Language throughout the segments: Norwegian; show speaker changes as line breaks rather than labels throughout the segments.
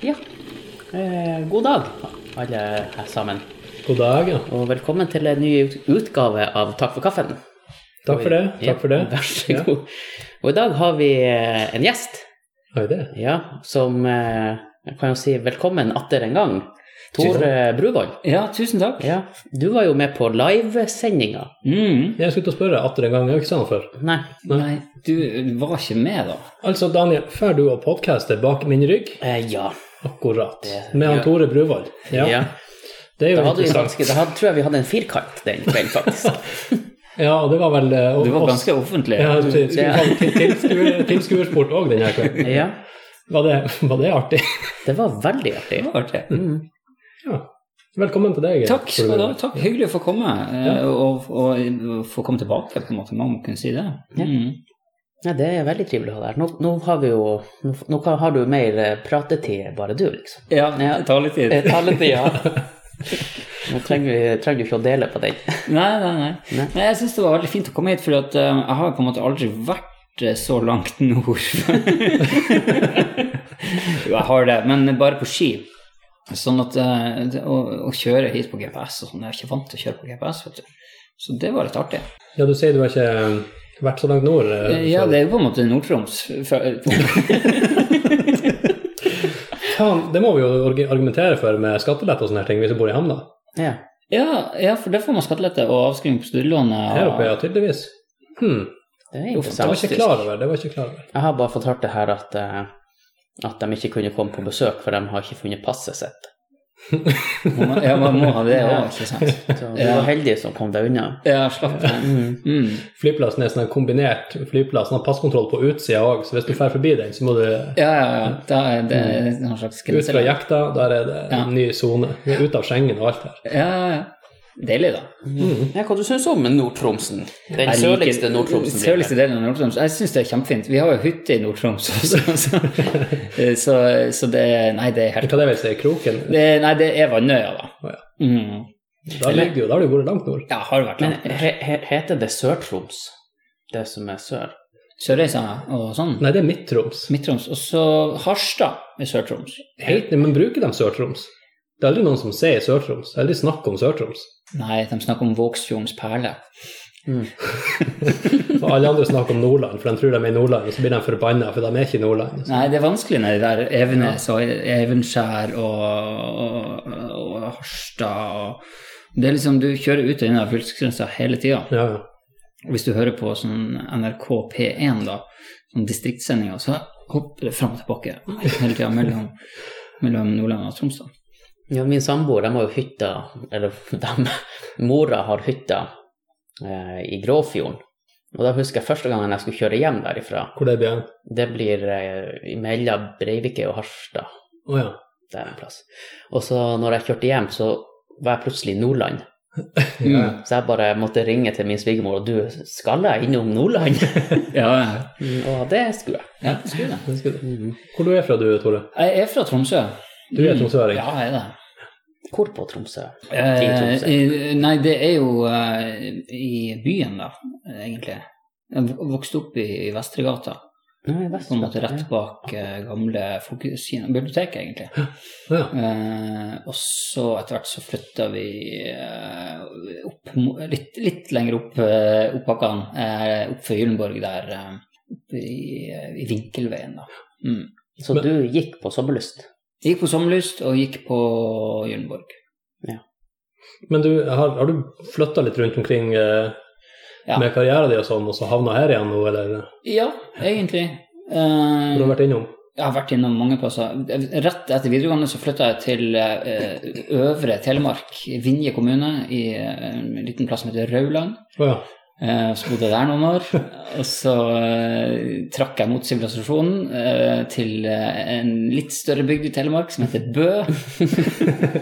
Ja. Eh, god dag, alle her sammen.
God dag, ja.
Og velkommen til en ny ut- utgave av Takk for kaffen.
Takk for det.
Ja,
Takk for det.
Vær så god. Og i dag har vi eh, en gjest,
Ja, har vi det?
ja, som eh, jeg kan jo si velkommen atter en gang. Tor
Tusen
eh, Bruvoll.
Ja, tusen takk.
Ja, du var jo med på livesendinga.
Mm.
Jeg skulle til å spørre atter en gang, jeg har ikke sagt noe før.
Nei.
Nei, du var ikke med, da.
Altså, Daniel, før du og podkastet bak min rygg,
Eh, ja.
akkurat,
Det-
med han
ja.
Tore Bruvoll. Ja,
ja.
det er
Da,
jo
hadde vi
interessant.
faktisk, da hadde, tror jeg vi hadde en firkant den kvelden, faktisk.
Ja, og det var vel eh,
Du var
oss-
ganske offentlig.
ja,
Du-
til- skulle
Ja.
ha til- tilskuer- Tilskuersport òg denne kvelden.
ja.
Var det, var det artig?
Det var veldig artig.
Det var artig.
Mm.
Ja. Velkommen til deg. eh,
Takk skal du ha.
Bruvoll.
Takk. Hyggelig å få komme, eh, og, og, og få komme tilbake, på en måte. Man må kunne si det.
Ja.
Mm.
Ja, det er veldig trivelig å ha deg her. Nå, nå har vi jo Nå, nå kan- har du mer eh, pratetid, bare du, liksom.
Ja,
Ja.
det tar litt tid.
Eh, Taletid, ja. Nå trenger, vi, trenger du ikke å dele på den.
Nei, nei, nei.
Nei.
nei. jeg syns det var veldig fint å komme hit, for at, eh, jeg har jo på en måte aldri vært eh, så langt nord. jo, jeg har det, men bare på ski. Sånn at eh, det- å, å kjøre hit på GPS og sånn, jeg er ikke vant til å kjøre på GPS, vet du. Så det var litt artig.
Ja, du sier du har ikke eh, vært så langt nord. eh,
Eh, Ja,
før.
det er jo på en måte Nord-Troms. fra-
Faen, det må vi jo orgi- argumentere for med skattelette og sånne her ting, hvis du bor i Hamna.
Ja.
Ja, ja, for der får man skattelette og avskriving på studielånet.
Her oppe,
Og...
ja, tydeligvis. Hmm.
Det er
Uff, det var
interessant.
ikke klar over. det var ikke klar over.
Jeg har bare fått hørt det her at, eh, at de ikke kunne komme på besøk, for de har ikke funnet passet sitt.
Ja, man må ha det
Ja.
òg, ikke sant.
Så du var heldig som kom deg unna.
Ja, slapp av.
Mm.
Mm.
Flyplassen er sånn en kombinert flyplass, den har passkontroll på utsida òg, så hvis du drar forbi den, så må du
Ja, ja, ja. Da er det
Mm.
en sånn
ut
slags
fra
grenseland.
jekta, der er det en
Ja.
ny sone. Vi er ute av Schengen og alt her.
Ja, ja, ja. Deilig, da.
Ja, hva du syns om Nord-Tromsen? Den
Jeg liker-
sørligste Nord-Tromsen. blir det.
Sørligste delen av Nord-Troms. Jeg syns det er kjempefint. Vi har jo hytte i Nord-Troms også, så, så, så det er- Nei, det er helt
Hva det vil si, Kroken?
det, er- Nei, det er Vannøya, da.
Å, ja.
Mm.
Da ligger du jo, da har du vært langt nord.
Ja, har det vært
Men
langt.
he, he, heter det Sør-Troms, det som er sør?
Sørreisa og sånn.
Nei, det er Midt-Troms.
Midt-Troms. Og så Harstad i Sør-Troms.
Helt- Men bruker de Sør-Troms? Det er aldri noen som sier Sør-Troms. Det er aldri snakk om Sør-Troms.
Nei, de snakker om Vågsfjordens perle.
Og alle andre snakker om Nordland, for de tror de er i Nordland, og så blir de forbanna, for de er ikke i Nordland.
Nei, det er vanskelig når det der Evenes og Evenskjær og, og, og Harstad og Det er liksom, du kjører ut og inn av fylkesgrensa hele tida.
Ja, ja.
Hvis du hører på sånn NRK P1, da, sånn distriktssendinger, så hopper det fram og tilbake hele tida mellom, mellom Nordland og Troms. da.
Ja, min samboer, de har jo hytta, eller de, mora har hytta eh, i Gråfjorden. Og da husker jeg første gangen jeg skulle kjøre hjem derifra.
Hvor det blir igjen?
Det blir eh, mellom Breivike og Harstad,
Å ja.
der en plass. Og så når jeg kjørte hjem, så var jeg plutselig i Nordland.
Mm.
Så jeg bare måtte ringe til min svigermor, og du, skal jeg innom Nordland?
Ja, Mm.
og det skulle jeg.
ja, skulle det.
det skulle du.
Mm.
Hvor du er fra du, Tore?
Jeg er fra Tromsø. Mm.
Du er tromsøring?
Ja, jeg er det.
Hvor på Tromsø? I
Eh,
Tromsø.
eh, nei, det er jo eh, i byen, da, egentlig. Jeg vok- vokste opp i, i Vestregata,
Nei,
på en måte
Vestlandet.
rett bak eh, gamle Folkekirken biblioteket, egentlig.
Å ja.
Eh, og så etter hvert så flytta vi eh, opp, mo- litt, litt lenger opp eh, Oppbakkene, eh, opp for Gyllenborg der, eh, opp i, eh, i Vinkelveien, da. Mm.
Så
Men-
du gikk på sommerlyst?
Gikk på Sommerlyst og gikk på Gyllenborg.
Men du, har, har du flytta litt rundt omkring eh,
Ja.
med karrieren din og sånn, og så havna her igjen nå, eller
Ja, egentlig. Eh,
hvor du har vært innom?
Jeg har vært innom mange plasser. Rett etter videregående så flytta jeg til eh, Øvre Telemark, i Vinje kommune, i eh, en liten plass som heter Rauland.
Å ja.
Eh, Så bodde jeg der noen år. Og så eh, trakk jeg mot sivilisasjonen eh, til eh, en litt større bygd i Telemark som heter Bø.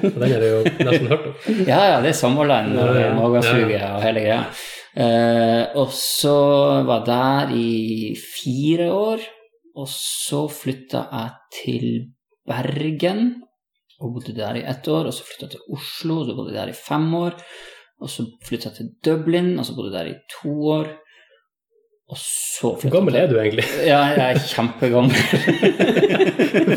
Den har jeg jo nesten hørt om.
Ja, ja, det er sommerland og
Ja, ja.
magesuget og hele greia. Eh, og så var jeg der i fire år, og så flytta jeg til Bergen og bodde der i ett år. Og så flytta jeg til Oslo, og så bodde jeg der i fem år. Og så flytta jeg til Dublin, og så bodde jeg der i to år. Og så
Hvor gammel er du egentlig?
Ja, jeg er kjempegammel.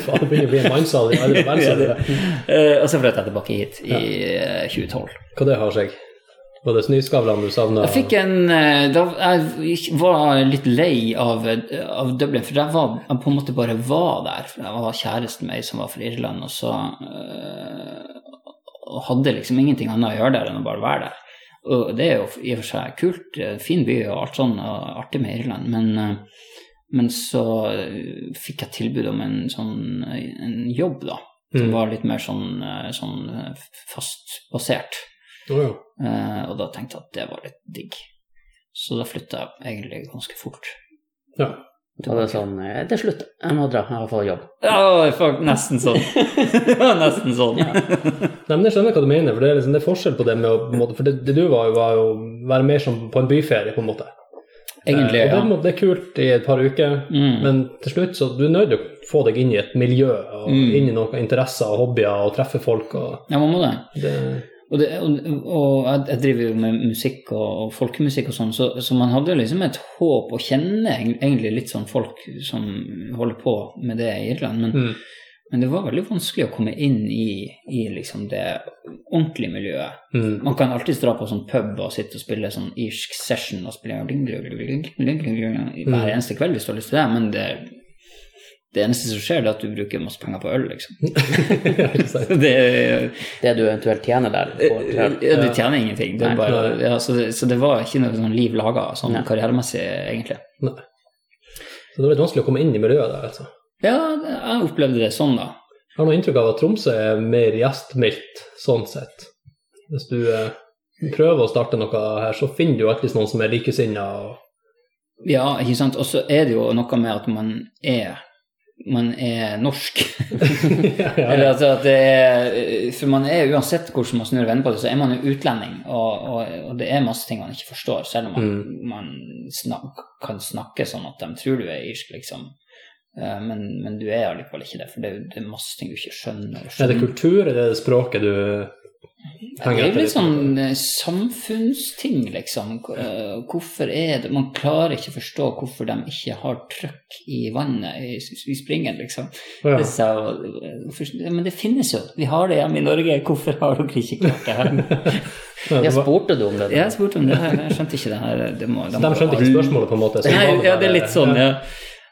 Faen, det begynner å bli en mannsalder. Ja, det er vel så det.
Eh, og så flytta jeg tilbake hit i eh, 2012.
Hva det har seg? Var det Snøskavlan du savna?
Jeg fikk en eh, da, Jeg var litt lei av, av Dublin, for jeg, var, jeg på en måte bare var der. For jeg var kjæresten min som var fra Irland, og så eh, og hadde liksom ingenting annet å gjøre der enn å bare være der. Og det er jo i og for seg kult, eh, fin by og alt sånn, og artig med Irland, men eh, men så eh, fikk jeg tilbud om en sånn en jobb, da. Som
Mm.
var litt mer sånn, eh, sånn eh, fastbasert.
Å, ja.
Eh, og da tenkte jeg at det var litt digg. Så da flytta jeg egentlig ganske fort.
ja.
Da var det sånn eh, Det er slutt, jeg må dra, jeg har fått jobb.
Ja, fuck, nesten sånn. Det var nesten sånn.
Nei, men Jeg skjønner hva du mener, for det er, liksom, det er forskjell på det med å på en måte, For det, det du var jo, var jo å være mer som på en byferie, på en måte.
Egentlig,
Eh, og det, er på en
ja.
måte- det er kult i et par uker,
Mm.
men til slutt så du er nødt til å få deg inn i et miljø, og
Mm.
inn i noen interesser og hobbyer, og treffe folk og
Ja, man må det.
det,
Og, det, og, og jeg- jeg driver jo med musikk og, og folkemusikk og sånn, så, så man hadde jo liksom et håp å kjenne eng- egentlig litt sånn folk som holder på med det i Irland. Men,
mm.
men det var veldig vanskelig å komme inn i, i liksom det ordentlige miljøet.
Mm.
Man kan alltids dra på sånn pub og sitte og spille sånn irsk session og spille ding, ding, ding, ding, ding, ding, ding, hver eneste kveld hvis du har lyst til det, men det, det eneste som skjer, det er at du bruker masse penger på øl, liksom.
Ikke sant?
Det,
Det du eventuelt tjener
Eh,
der, får
ja,
til.
du tjener ingenting. Det
Nei.
er bare, ja, så, det, så det var ikke noe sånn liv laga sånn
Nei.
karrieremessig, egentlig.
Nei. Så det var litt vanskelig å komme inn i miljøet der, altså.
Ja, jeg opplevde det sånn, da.
Jeg har noe inntrykk av at Tromsø er mer gjestmildt, sånn sett. Hvis du eh, prøver å starte noe her, så finner du jo alltid noen som er likesinna. Og...
Ja, ikke sant. Og så er det jo noe med at man er man er norsk.
ja, ja,
Eller
ja.
altså at det er, for man er uansett hvordan man snur og vender på det, så er man jo utlending, og, og, og det er masse ting man ikke forstår, selv om man,
Mm.
man snak, kan snakke sånn at de tror du er irsk, liksom. Eh, Men, men du er allikevel ikke det, for det er, jo- det er masse ting du ikke skjønner. og
Er det
skjønner.
kultur, eller er det språket du
Det
henger
er jo
etter?
litt sånn eh, samfunnsting, liksom. Hvor- eh, Hvorfor er det Man klarer ikke å forstå hvorfor de ikke har trøkk i vannet, i, i springen, liksom.
Å,
Det sa jeg, eh, først, ja, men det finnes jo. Vi har det hjemme i Norge. Hvorfor har dere ikke klart det her?
ja.
Jeg spurte du om det?
Jeg spurte om det her, jeg skjønte ikke det her. Det må, det
De
må-
skjønte ikke spørsmålet, på en måte. så
Nei,
var
ja, det er
bare-
litt sånn, ja.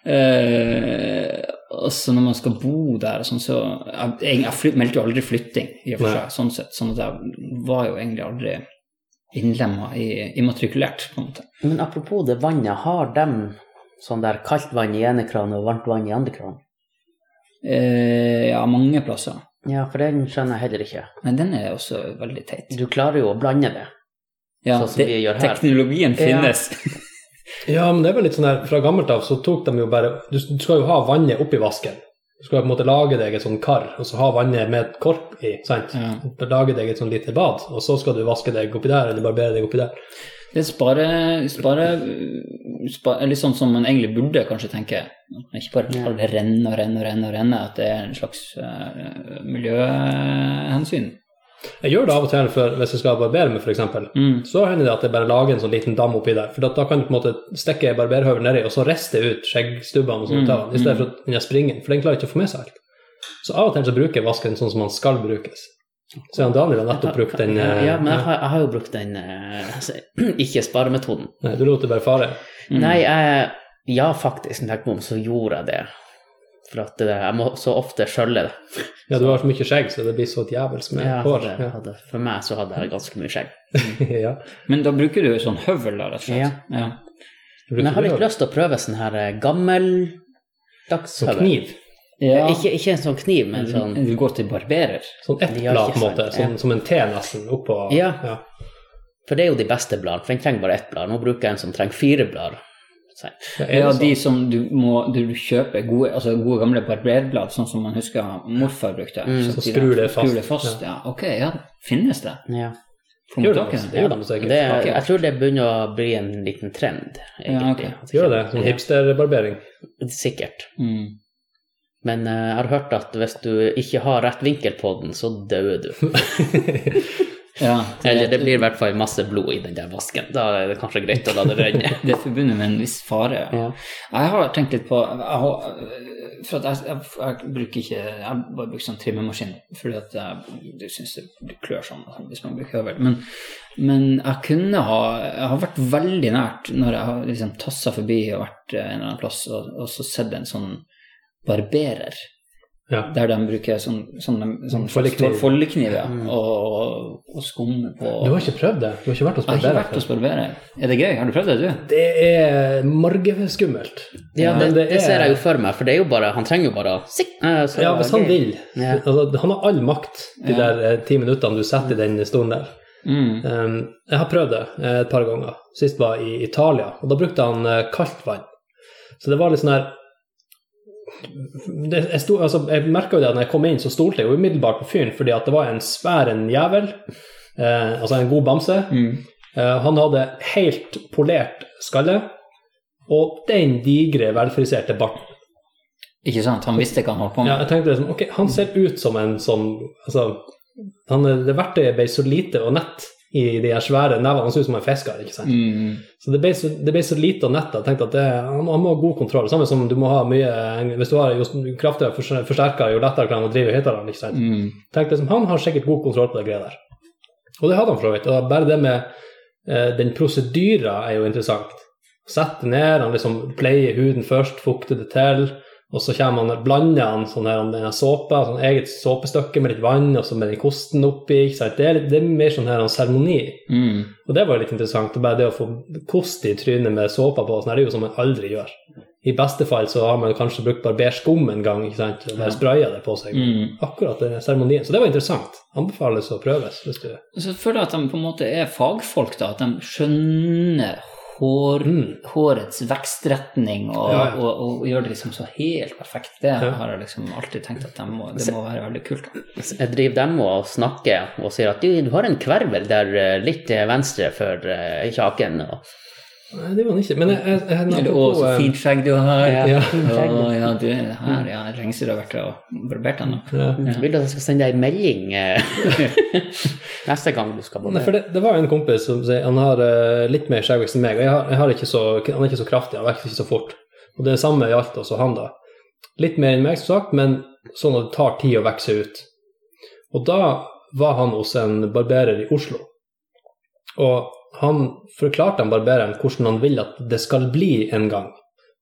Eh, og så når man skal bo der og sånn, så Jeg, jeg flyt, meldte jo aldri flytting, i og for
Nei.
seg, sånn sett. Sånn at jeg var jo egentlig aldri innlemma i immatrikulert, på en måte.
Men apropos det vannet, har de sånn der kaldt vann i ene kran og varmt vann i andre kran?
Eh, ja, mange plasser.
Ja, for den skjønner jeg heller ikke.
Men den er også veldig teit.
Du klarer jo å blande det.
Ja,
Sånn som vi gjør her.
Teknologien finnes.
Ja, men det er vel litt sånn her, fra gammelt av så tok de jo bare Du, du skal jo ha vannet oppi vasken. Du skal jo på en måte lage deg et sånn kar, og så ha vannet med et kork i, sant?
Ja.
Lage deg et sånn lite bad, og så skal du vaske deg oppi der, eller barbere deg oppi der.
Det sparer, sparer, sparer Litt sånn som man egentlig burde kanskje tenke. At man ikke bare lar det renne og renne og renne, og renne at det er en slags eh, miljøhensyn.
Jeg gjør det av og til for, hvis jeg skal barbere meg, f.eks.
Mm.
Så hender det at jeg bare lager en sånn liten dam oppi der. For da- da kan du på en måte stikke barberhøvelen nedi, og så riste ut skjeggstubbene og sånne
Mm,
tall, i stedet for at den der springen, for den klarer ikke å få med seg alt. Så av og til så bruker jeg vasken sånn som den skal brukes. Så han Daniel har nettopp brukt den eh,
Ja, men jeg har, jeg har jo brukt den eh, altså, ikke sparemetoden.
Nei, du lot det bare fare.
Mm.
Nei, jeg, ja, faktisk, når jeg kom, så gjorde jeg det. For at eh, jeg må så ofte skjølle det.
Ja, du har så mye skjegg, så det blir så djevelsk med
Ja,
hår.
det hadde, for meg så hadde jeg ganske mye skjegg.
Ja. ja.
Men da bruker du jo sånn høvel, da, rett og slett. Ja.
Men jeg har litt lyst til å prøve sånn her eh, gammeldags
Som
høvel.
kniv.
Ja. Mm.
Ikke, ikke en sånn kniv, men sånn
Du går til barberer.
Sånn ett
Ja,
blad,
ikke
på en måte.
sant, ja.
Sånn, som en T, nesten, oppå
Ja. For det er jo de beste bladene, for den trenger bare ett blad. Nå bruker jeg en som trenger fire blader. Så-
Ja, er det
Ja,
sånn?
de som du må du du kjøper gode, altså gode gamle barberblad, sånn som man husker morfar brukte.
Mm.
at
Så
de
skrur
der-
det fast.
Skrur det fast. Ja. ok, ja, finnes det.
Ja.
Får man
Gjør det,
tak i det?
det gjør de
Det, er-
sikkert.
jeg tror det begynner å bli en liten trend, egentlig.
Ja,
Gjør det, sånn hipsterbarbering.
Sikkert.
Mm.
Men eh, jeg har hørt at hvis du ikke har rett vinkel på den, så dør du.
Ja,
Eller det blir i hvert fall masse blod i den der vasken. Da er det kanskje greit å la det renne.
det er forbundet med en viss fare.
Ja.
Jeg har tenkt litt på jeg har, For at jeg, jeg, jeg bruker ikke Jeg bare bruker sånn trimmemaskin fordi at jeg syns det klør sånn hvis man bruker høvel. Men, men jeg kunne ha Jeg har vært veldig nært når jeg har liksom tassa forbi og vært eh, en eller annen plass og, og så sett en sånn barberer
Ja.
der de bruker sånn, sånn, sånn
Foldekniv.
foldekniv, ja,
Mm.
og, og, og skum på
Du har ikke prøvd det? Du har ikke vært hos
Jeg har ikke
barberer?
vært
før?
hos barberer. Er det gøy? Har du prøvd det, du?
Det er margeskummelt.
Ja, det,
Men
det
er-
ser jeg jo for meg, for det er jo bare Han trenger jo bare å sikk, eh, så-
Ja, hvis han vil.
Ja.
Altså, han har all makt, de
Ja.
der eh, ti minuttene du setter i den stolen der.
Mm.
Um, jeg har prøvd det eh, et par ganger. Sist var i Italia, og da brukte han eh, kaldt vann. Så det var litt sånn her det, jeg, sto, altså, jeg merka jo det at når jeg kom inn, så stolte jeg jo umiddelbart på fyren, fordi at det var en svær en jævel, eh, altså en god bamse.
Mm.
Eh, han hadde helt polert skalle og den digre, velfriserte barten.
Ikke sant? Han visste hva han holdt på
Ja,
med.
jeg tenkte liksom, ok, han ser ut som en sånn altså, han, Det verktøyet ble så lite og nett i de her svære nevene. Han ser ut som en fisker. ikke sant?
Mm.
Så det ble så, det ble så lite og nett. Jeg tenkte at det, han, han må ha god kontroll. Samme som du må ha mye Hvis du har jo kraftigere forse- forsterker, jo lettere kan han drive høyttaleren. ikke sant?
Mm.
Tenkte liksom, Han har sikkert god kontroll på det greia der. Og det hadde han for så vidt. Og bare det med eh, den prosedyra er jo interessant. Sette ned, han liksom pleier huden først, fukter det til, og så kommer han, blander han sånn her, denne såpa, sånn eget såpestykke med litt vann, og så med den kosten oppi. ikke sant? Det er, litt- det er mer sånn her en seremoni.
Mm.
Og det var jo litt interessant. og Bare det å få kost i trynet med såpa på, sånn, her, det er jo som man aldri gjør. I beste fall så har man kanskje brukt barberskum en gang, ikke sant? og bare spraya det på seg.
Mm.
Akkurat den seremonien. Så det var interessant. Anbefales å prøves. hvis du...
Så føler jeg at de på en måte er fagfolk, da. At de skjønner hår,
Mm.
hårets vekstretning og,
Ja, ja.
og, og, gjør det liksom så helt perfekt. Det
Ja.
har jeg liksom alltid tenkt at de må, det må være veldig kult. da.
Jeg driver dem og snakker og sier at du, du har en kvervel der eh, litt til venstre for eh, kjaken. Og,
Nei, det var den ikke. Men jeg, jeg, jeg,
Eller å, så
apropos, eh,
fint skjegg du har.
Ja.
Ja.
Å, ja, du er her, ja. Lenge siden du har vært og barbert deg nå.
ja.
Vil du at jeg skal sende deg en melding eh, neste gang du skal
Nei,
barbere?
for det, det var jo en kompis som sier han har eh, litt mer skjeggvekst enn meg, og jeg har, jeg har ikke så, han er ikke så kraftig, han vokser ikke så fort. Og det samme gjaldt også han, da. Litt mer enn meg, som sagt, men sånn at det tar tid å vokse ut. Og da var han hos en barberer i Oslo, og han forklarte han barbereren hvordan han vil at det skal bli en gang.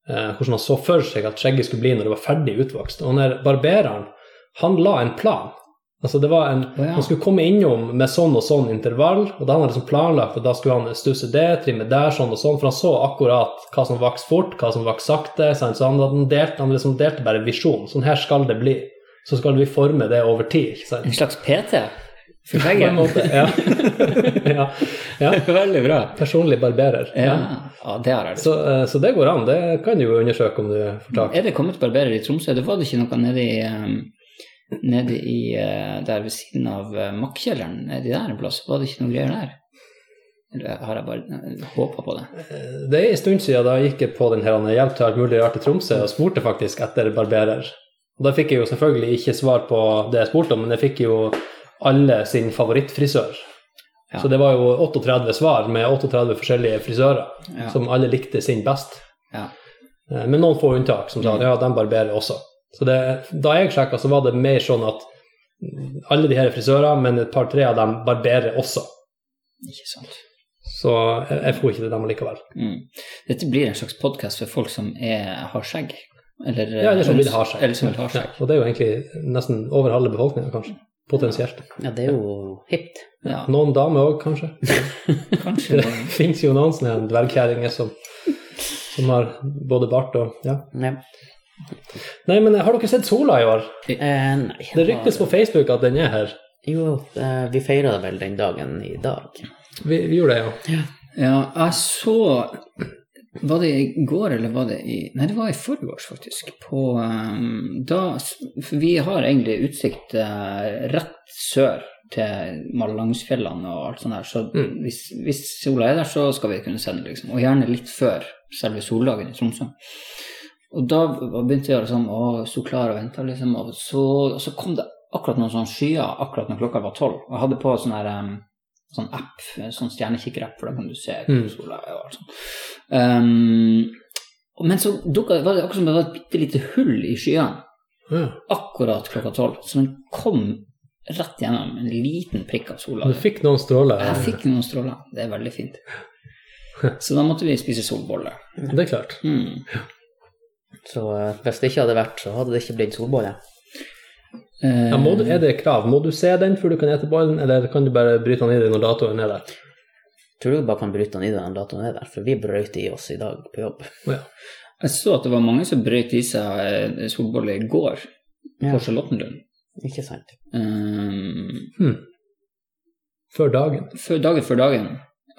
Eh, hvordan han så for seg at skjegget skulle bli når det var ferdig utvokst. Og den her barbereren, han la en plan. Altså det var en,
Å, ja.
Han skulle komme innom med sånn og sånn intervall, og da hadde han liksom planlagt at da skulle han stusse det, trimme der, sånn og sånn, for han så akkurat hva som vokste fort, hva som vokste sakte, sant? så han hadde delt, han liksom delte bare visjonen. Sånn her skal det bli. Så skal vi forme det over tid, ikke sant?
En slags PT for
På en
skjegget.
måte, ja. ja. ja.
Veldig bra.
Personlig barberer.
Ja. ja, det har jeg lyst
Så,
til.
eh, så det går an, det kan du jo undersøke om du får tak i.
Er det kommet barberer i Tromsø? Det var det ikke noe nede i, eh, nede i eh, der ved siden av eh, Makkjelleren, nedi der en plass? Var det ikke noe greier der? Eller har jeg bare håpa på det?
Det er en stund siden da jeg gikk på den her «Nei, Hjelp til alt mulig rart i Tromsø og spurte faktisk etter barberer. Og da fikk jeg jo selvfølgelig ikke svar på det jeg spurte om, men jeg fikk jo alle sin favorittfrisør.
Ja.
Så det var jo 38 svar med 38 forskjellige frisører,
Ja.
som alle likte sin best.
Ja.
Eh, Men noen få unntak som sa at ja, de barberer også. Så det, da jeg sjekka, så var det mer sånn at alle de her er frisører, men et par-tre av dem barberer også.
Ikke sant.
Så jeg, jeg får ikke til dem likevel.
Mm. Dette blir en slags podkast for folk som er, har skjegg. Eller,
Ja, eller som vil ha skjegg.
Eller som vil ha
Ja,
skjegg.
og det er jo egentlig nesten over halve befolkninga, kanskje. Potensielt.
Ja, det er jo hipt.
Ja,
Noen damer òg, kanskje.
kanskje.
Det fins jo noen sånne dvergkjerringer som, som har både bart og ja.
Ja.
Nei, men eh, har dere sett sola i år?
Eh, nei.
Det ryktes på Facebook at den er her.
Jo, eh, vi feira vel den dagen i dag.
Vi, vi gjorde det, ja.
Ja, jeg så Var det i går, eller var det i Nei, det var i forgårs, faktisk. På ehm, Da for Vi har egentlig utsikt eh, rett sør til Mallangsfjellene og alt sånt der, så
Mm.
hvis, hvis sola er der, så skal vi kunne se den, liksom. Og gjerne litt før selve soldagen i Tromsø. Og da begynte jeg liksom å stå klar og vente, liksom, og så, og så kom det akkurat noen sånne skyer akkurat når klokka var tolv. Og jeg hadde på sånn her ehm, sånn app, en sånn stjernekikkerapp, for da kan du se
Mm.
sola og alt sånt. Um, og- men så dukket, var det akkurat som det var et bitte lite hull i skyene,
Ja.
akkurat klokka tolv. Så den kom rett gjennom en liten prikk av sola.
Du fikk noen stråler.
Jeg fikk noen stråler, det er veldig fint. Så da måtte vi spise solboller.
Det er klart.
Mm.
Så eh, hvis det ikke hadde vært, så hadde det ikke blitt solbolle.
Eh,
Ja, må du, er det krav? Må du se den før du kan ete bollen, eller kan du bare bryte den i deg når datoen er der?
Tror du bare kan bryte den i den datoen er der, for vi brøt i oss i dag på jobb.
Ja.
Jeg så at det var mange som brøt i seg eh, solboller i går på Charlottenlund.
Ikke sant.
Eh,
Hm. Før dagen.
før, dagen før dagen.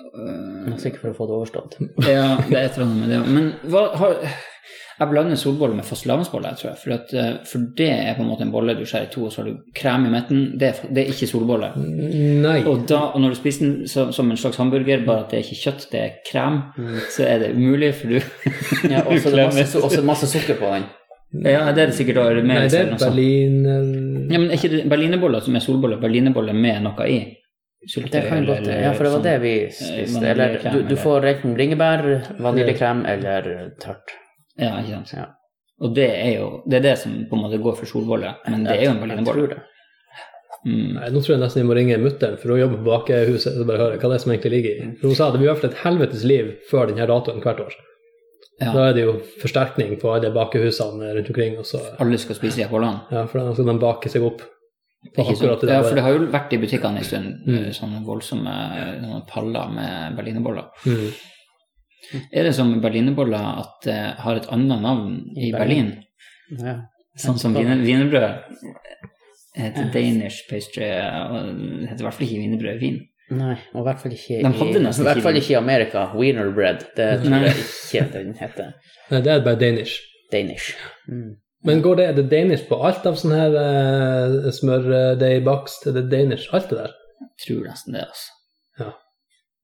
Eh,
Men sikkert for å få det overstått.
Ja, det er et eller annet med det. Men hva har Jeg blander solboller med fastelavnsboller, tror jeg. For, at, eh, for det er på en måte en bolle du skjærer i to, og så har du krem i midten. Det er, det er ikke solbolle.
Nei.
Og, da, og når du spiser den så, som en slags hamburger, bare at det er ikke kjøtt, det er krem,
Mm.
så er det umulig, for du
Ja, og så er det
Klemmer.
masse, også masse sukker på den.
Ja, det er det sikkert også,
Nei,
med
det
eller
er
noe sånt.
Berlin eh,
altså. Ja, men er ikke det berlinerboller som er solboller? Berlinerboller med noe i?
Det kan godt Ja, for det
sånn,
var det vi spiste. Eller du, du får enten bringebær, vaniljekrem eller tørt.
Ja, ikke sant.
Ja.
Og det er jo det, er det som på en måte går for solboller, men det er jo
Jeg
en
tror
berlinerbolle.
det.
Mm.
Nei, nå tror jeg nesten jeg må ringe mutter'n, for hun jobber på bakehuset. Så bare høre hva det er som egentlig ligger i. For hun sa det blir i hvert fall et helvetes liv før denne datoen hvert år.
Ja.
Da er det jo forsterkning på alle bakehusene rundt omkring. Og så,
Alle skal spise jakolan.
ja, for da skal de bake seg opp. på
Ikke sant?
akkurat det der.
Ja,
Mm.
for det har jo vært i butikkene en stund, eh, sånne voldsomme sånne paller med berlinerboller.
Mm.
Er det som berlinerboller at det har et annet navn i
I
Berlin?
Berlin. Ja.
Sånn som
Nettopp.
vine- wienerbrød heter Danish pastry eh, og det heter i hvert fall ikke wienerbrød i Wien.
Nei, og i hvert fall ikke i,
De hadde nesten
i hvert fall
ikke-
ikke i Amerika. Wiener bread. Det
Nei.
tror jeg ikke den heter.
Nei, det er bare danish.
Danish. Mm.
Men går det, er det danish på alt av sånn her uh, smørdeigbakst? Er det danish alt det der?
Jeg tror nesten det, altså.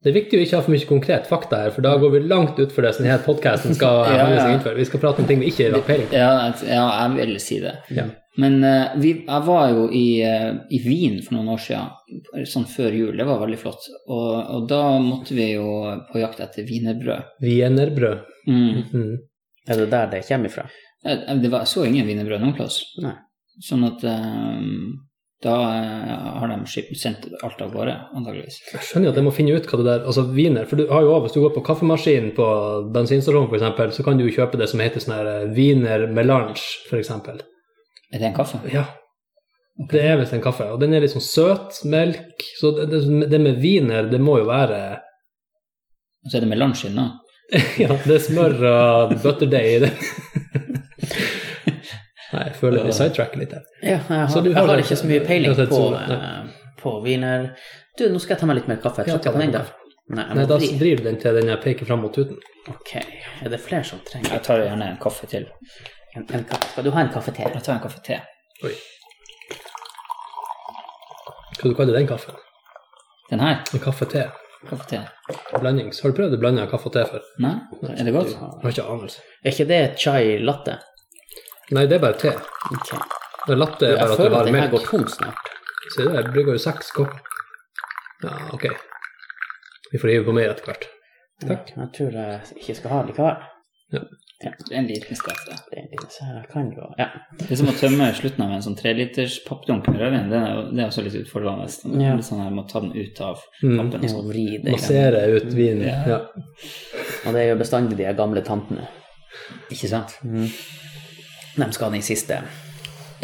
Det er viktig å ikke ha for mye konkret fakta her, for da går vi langt utfor det som denne podkasten skal
Ja, ja.
handle seg innenfor. Vi skal prate om ting vi ikke har peiling på.
Ja, jeg- ja, jeg vil si det.
Ja.
Men eh, vi, jeg var jo i, eh, i Wien for noen år siden, sånn før jul. Det var veldig flott. Og, og da måtte vi jo på jakt etter wienerbrød.
Wienerbrød.
Mm.
Mm.
Er det der det kommer ifra?
Jeg, jeg- det var, jeg så ingen wienerbrød noen plass.
Nei.
Sånn at eh, da eh, har de skip, sendt alt av gårde, antageligvis.
Jeg skjønner jo at jeg må finne ut hva det der Altså wiener, for du har jo også, hvis du går på kaffemaskinen på bensinstasjonen f.eks., så kan du jo kjøpe det som heter sånn her eh, wiener melange, f.eks.
Er det en kaffe?
Ja. Det er visst en kaffe, og den er litt sånn søt, melk Så det, det, det med wiener, det må jo være
Og så er det med lunsj inne.
Ja, det er smør og butterdeig i det. Nei, jeg føler jeg sidetracker litt her.
Ja, jeg har,
Så du
jeg
har
har
det-
ikke så mye peiling
det er et
på,
sånt,
eh, på wiener. Du, nå skal jeg ta meg litt mer kaffe. Jeg
Ja,
tror ikke
ta
jeg kan
deg
ennå. Nei, jeg
Nei,
må
da
vri.
vrir du den til den jeg peker fram mot tuten.
Ok, er det flere som trenger
Jeg tar gjerne en kaffe til.
en, en kaffe? Skal du ha en kaffe til?
Jeg tar en kaffe til.
Oi. Hva du kaller du den kaffen?
Den her?
En kaffe-te?
Kaffe til.
Blandings. Har du prøvd å blande kaffe og te før?
Nei? Er det godt?
Jeg har ikke anelse.
Er ikke det chai latte?
Nei, det er bare te.
Ok.
Det er latte er
Jeg
bare at
føler
du
at
har
den her
melk.
går tom snart.
Se der, jeg brygger jo seks kopper. Ja, ok. Vi får hive på mer etter hvert. Takk.
Jeg tror jeg ikke skal ha likevel.
Det er en liten skvett.
Det er litt så her, jeg kan jo Ja.
Det er som å tømme slutten av en sånn treliters pappdunk med rødvin. Det er, jo- det er også litt utfordrende. Det
Ja.
er Litt sånn her, må ta den ut av
Mm.
pappen. og
Jeg må
sånn.
vri det. i gang.
Massere ut vinen. Ja.
Og det er jo bestandig de her gamle tantene.
Ikke sant?
Mm.
De skal ha den siste.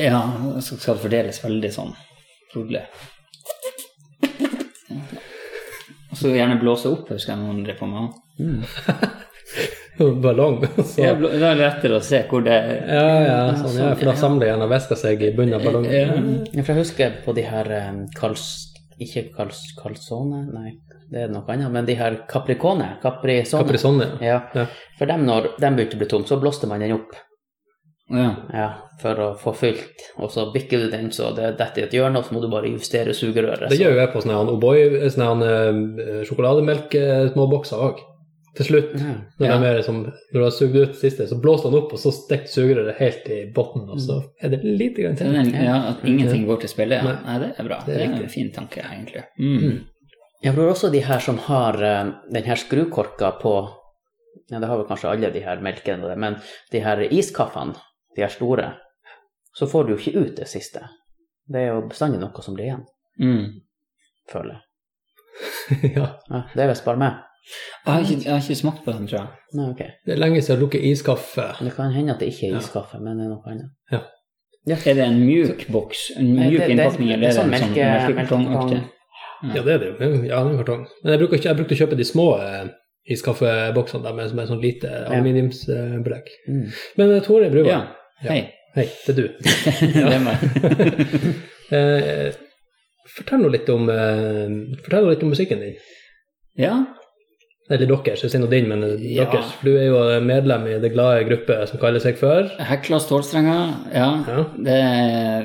Ja, så skal det fordeles veldig sånn rolig. Og så gjerne blåse opp, husker jeg noen drev på med. også.
Ballong. Så.
Ja,
Ja,
blå- Da er det lettere å se hvor det er.
ja, sånn, ja, for da samler gjerne væska seg i bunnen av ballongen.
Ja, for jeg husker på de her eh, Karls... Ikke Karls... Karlsone? Nei, det er noe annet. Men de her Capricone? Caprisone?
Caprisonne.
Ja.
Ja.
For dem, når de begynte å bli tom, så blåste man den opp.
Ja.
Ja, for å få fylt. Og så bikker du den, så det detter i et hjørne, og så må du bare justere sugerøret.
Det gjør jo jeg på sånne her O'boy, sånne her, eh, sjokolademelk-småbokser òg. Til slutt,
Ja.
når,
Ja.
de er liksom, når du har sugd ut det siste, så blåser den opp, og så stikker sugerøret helt i bunnen, og så er det lite grann
Det er
til.
den- ja, at ingenting går til spille. Ja.
Nei.
Nei, det er bra.
Det er
Det er en
riktig.
fin tanke, egentlig. Mm.
Jeg tror også de her som har eh, den her skrukorka på ja, Det har vel kanskje alle de her melkene, og det, men de her iskaffene, de her store, så får du jo ikke ut det siste. Det er jo bestandig noe som blir igjen,
Mm.
føler jeg.
ja.
Ja, det er visst bare meg.
Jeg, har ikke, jeg har ikke smakt på den, tror jeg.
Nei, ok.
Det er lenge siden jeg har drukket iskaffe.
Det kan hende at det ikke er
Ja.
iskaffe, men det er noe annet.
Er det en mjuk boks? En
Nei,
mjuk
det- det-
innpakning? Eller
det
er det
sånn
en sånn
melke-
melkekartongaktig?
melkekartong.
Ja, det er det jo. Ja, det er en kartong. Men jeg bruker, ikke, jeg bruker å kjøpe de små eh, iskaffeboksene der med, med sånn lite aluminiumsbelegg.
Mm.
Men eh, Tore Bruva,
Ja. Hei.
hei, det er du.
det er meg.
Eh, fortell, nå litt om, eh, fortell nå litt om musikken din.
Ja.
Eller deres, jeg sier nå din, men eh,
Ja.
deres. For du er jo medlem i det glade gruppe som kaller seg for
Hekla stålstrenger. Ja.
ja.
Det,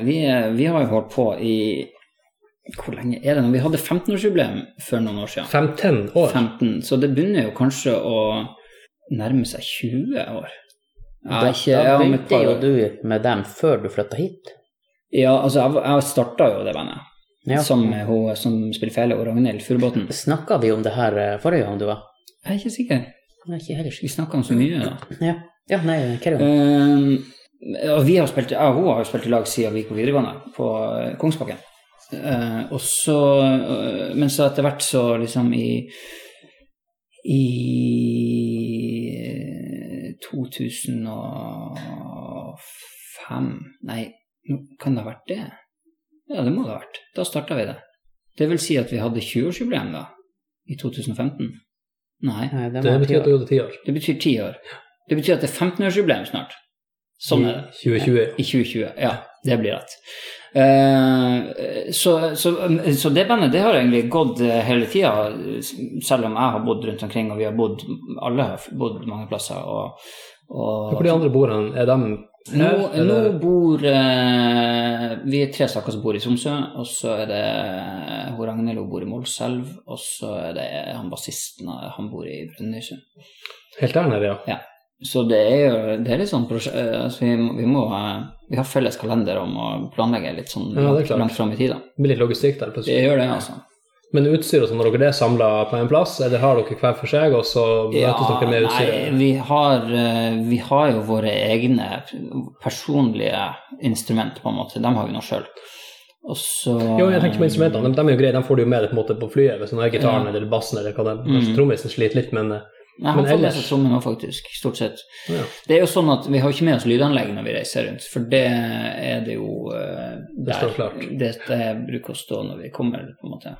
vi, vi har jo holdt på i Hvor lenge er det nå? Vi hadde 15-årsjubileum for noen år siden.
15 år.
15, så det begynner jo kanskje å nærme seg 20 år. Ja,
Da,
ikke,
da
ja, om et
begynte
par
jo
år.
du med dem før du flytta hit.
Ja, altså, jeg, jeg starta jo det bandet.
Ja.
Som, hun, som spiller fele og Ragnhild Furubotn.
Snakka vi om det her eh, forrige gang du var?
Jeg er ikke sikker.
Nei, ikke heller.
Vi snakka om så mye, da.
Ja, ja nei, carry on.
Um, og vi har spilt, ja, hun har jo spilt i lag siden vi gikk på videregående på eh, Kongsbakken. Eh, og så, eh, men så etter hvert så liksom i I 2005 Nei, nå kan det ha vært det? Ja, det må det ha vært. Da starta vi det. Det vil si at vi hadde 20-årsjubileum da, i 2015. Nei.
Nei, det
Det
var
betyr at du hadde 10 år.
Det betyr ti år. Det betyr at det er 15-årsjubileum snart. Sånn er det.
I 2020.
I 2020. Ja, det blir rett. Eh, så, så, så det bandet det har egentlig gått eh, hele tida, selv om jeg har bodd rundt omkring, og vi har bodd Alle har bodd mange plasser. Og,
Hvor
og
de andre bordene, er de
nå,
her?
nå
eller?
bor eh, Vi er tre stykker som bor i Tromsø, og så er det hun Ragnhild hun bor i Målselv, og så er det han bassisten, eh, han bor i Brønnøysund.
Helt der nede, ja.
Så det er jo det er litt sånn prosje- eh, altså vi, må- vi må eh, Vi har felles kalender om å planlegge litt sånn
Ja, det er klart.
langt fram i tid, da.
Det blir litt logistikk der
Det
plutselig.
gjør det, altså.
Men utstyr og sånn, har dere det samla på en plass, eller har dere hver for seg, og så møtes dere med
nei,
utstyret?
vi har, eh, vi har jo våre egne personlige instrument, på en måte. Dem har vi nå sjøl. Og så
Jo, jeg tenker på instrumentene. De, de er jo greie, de får du jo med deg på, en måte, på flyet hvis den har gitaren
Ja.
eller bassen eller hva det er.
Mm.
Kanskje trommisen sliter litt, men eh,
Nei, han
men
får med
ellers-
seg trommen nå, faktisk. Stort sett.
ja.
Det er jo sånn at vi har ikke med oss lydanlegg når vi reiser rundt, for det er det jo eh,
Det står klart.
Det, det bruker å stå når vi kommer, på en måte.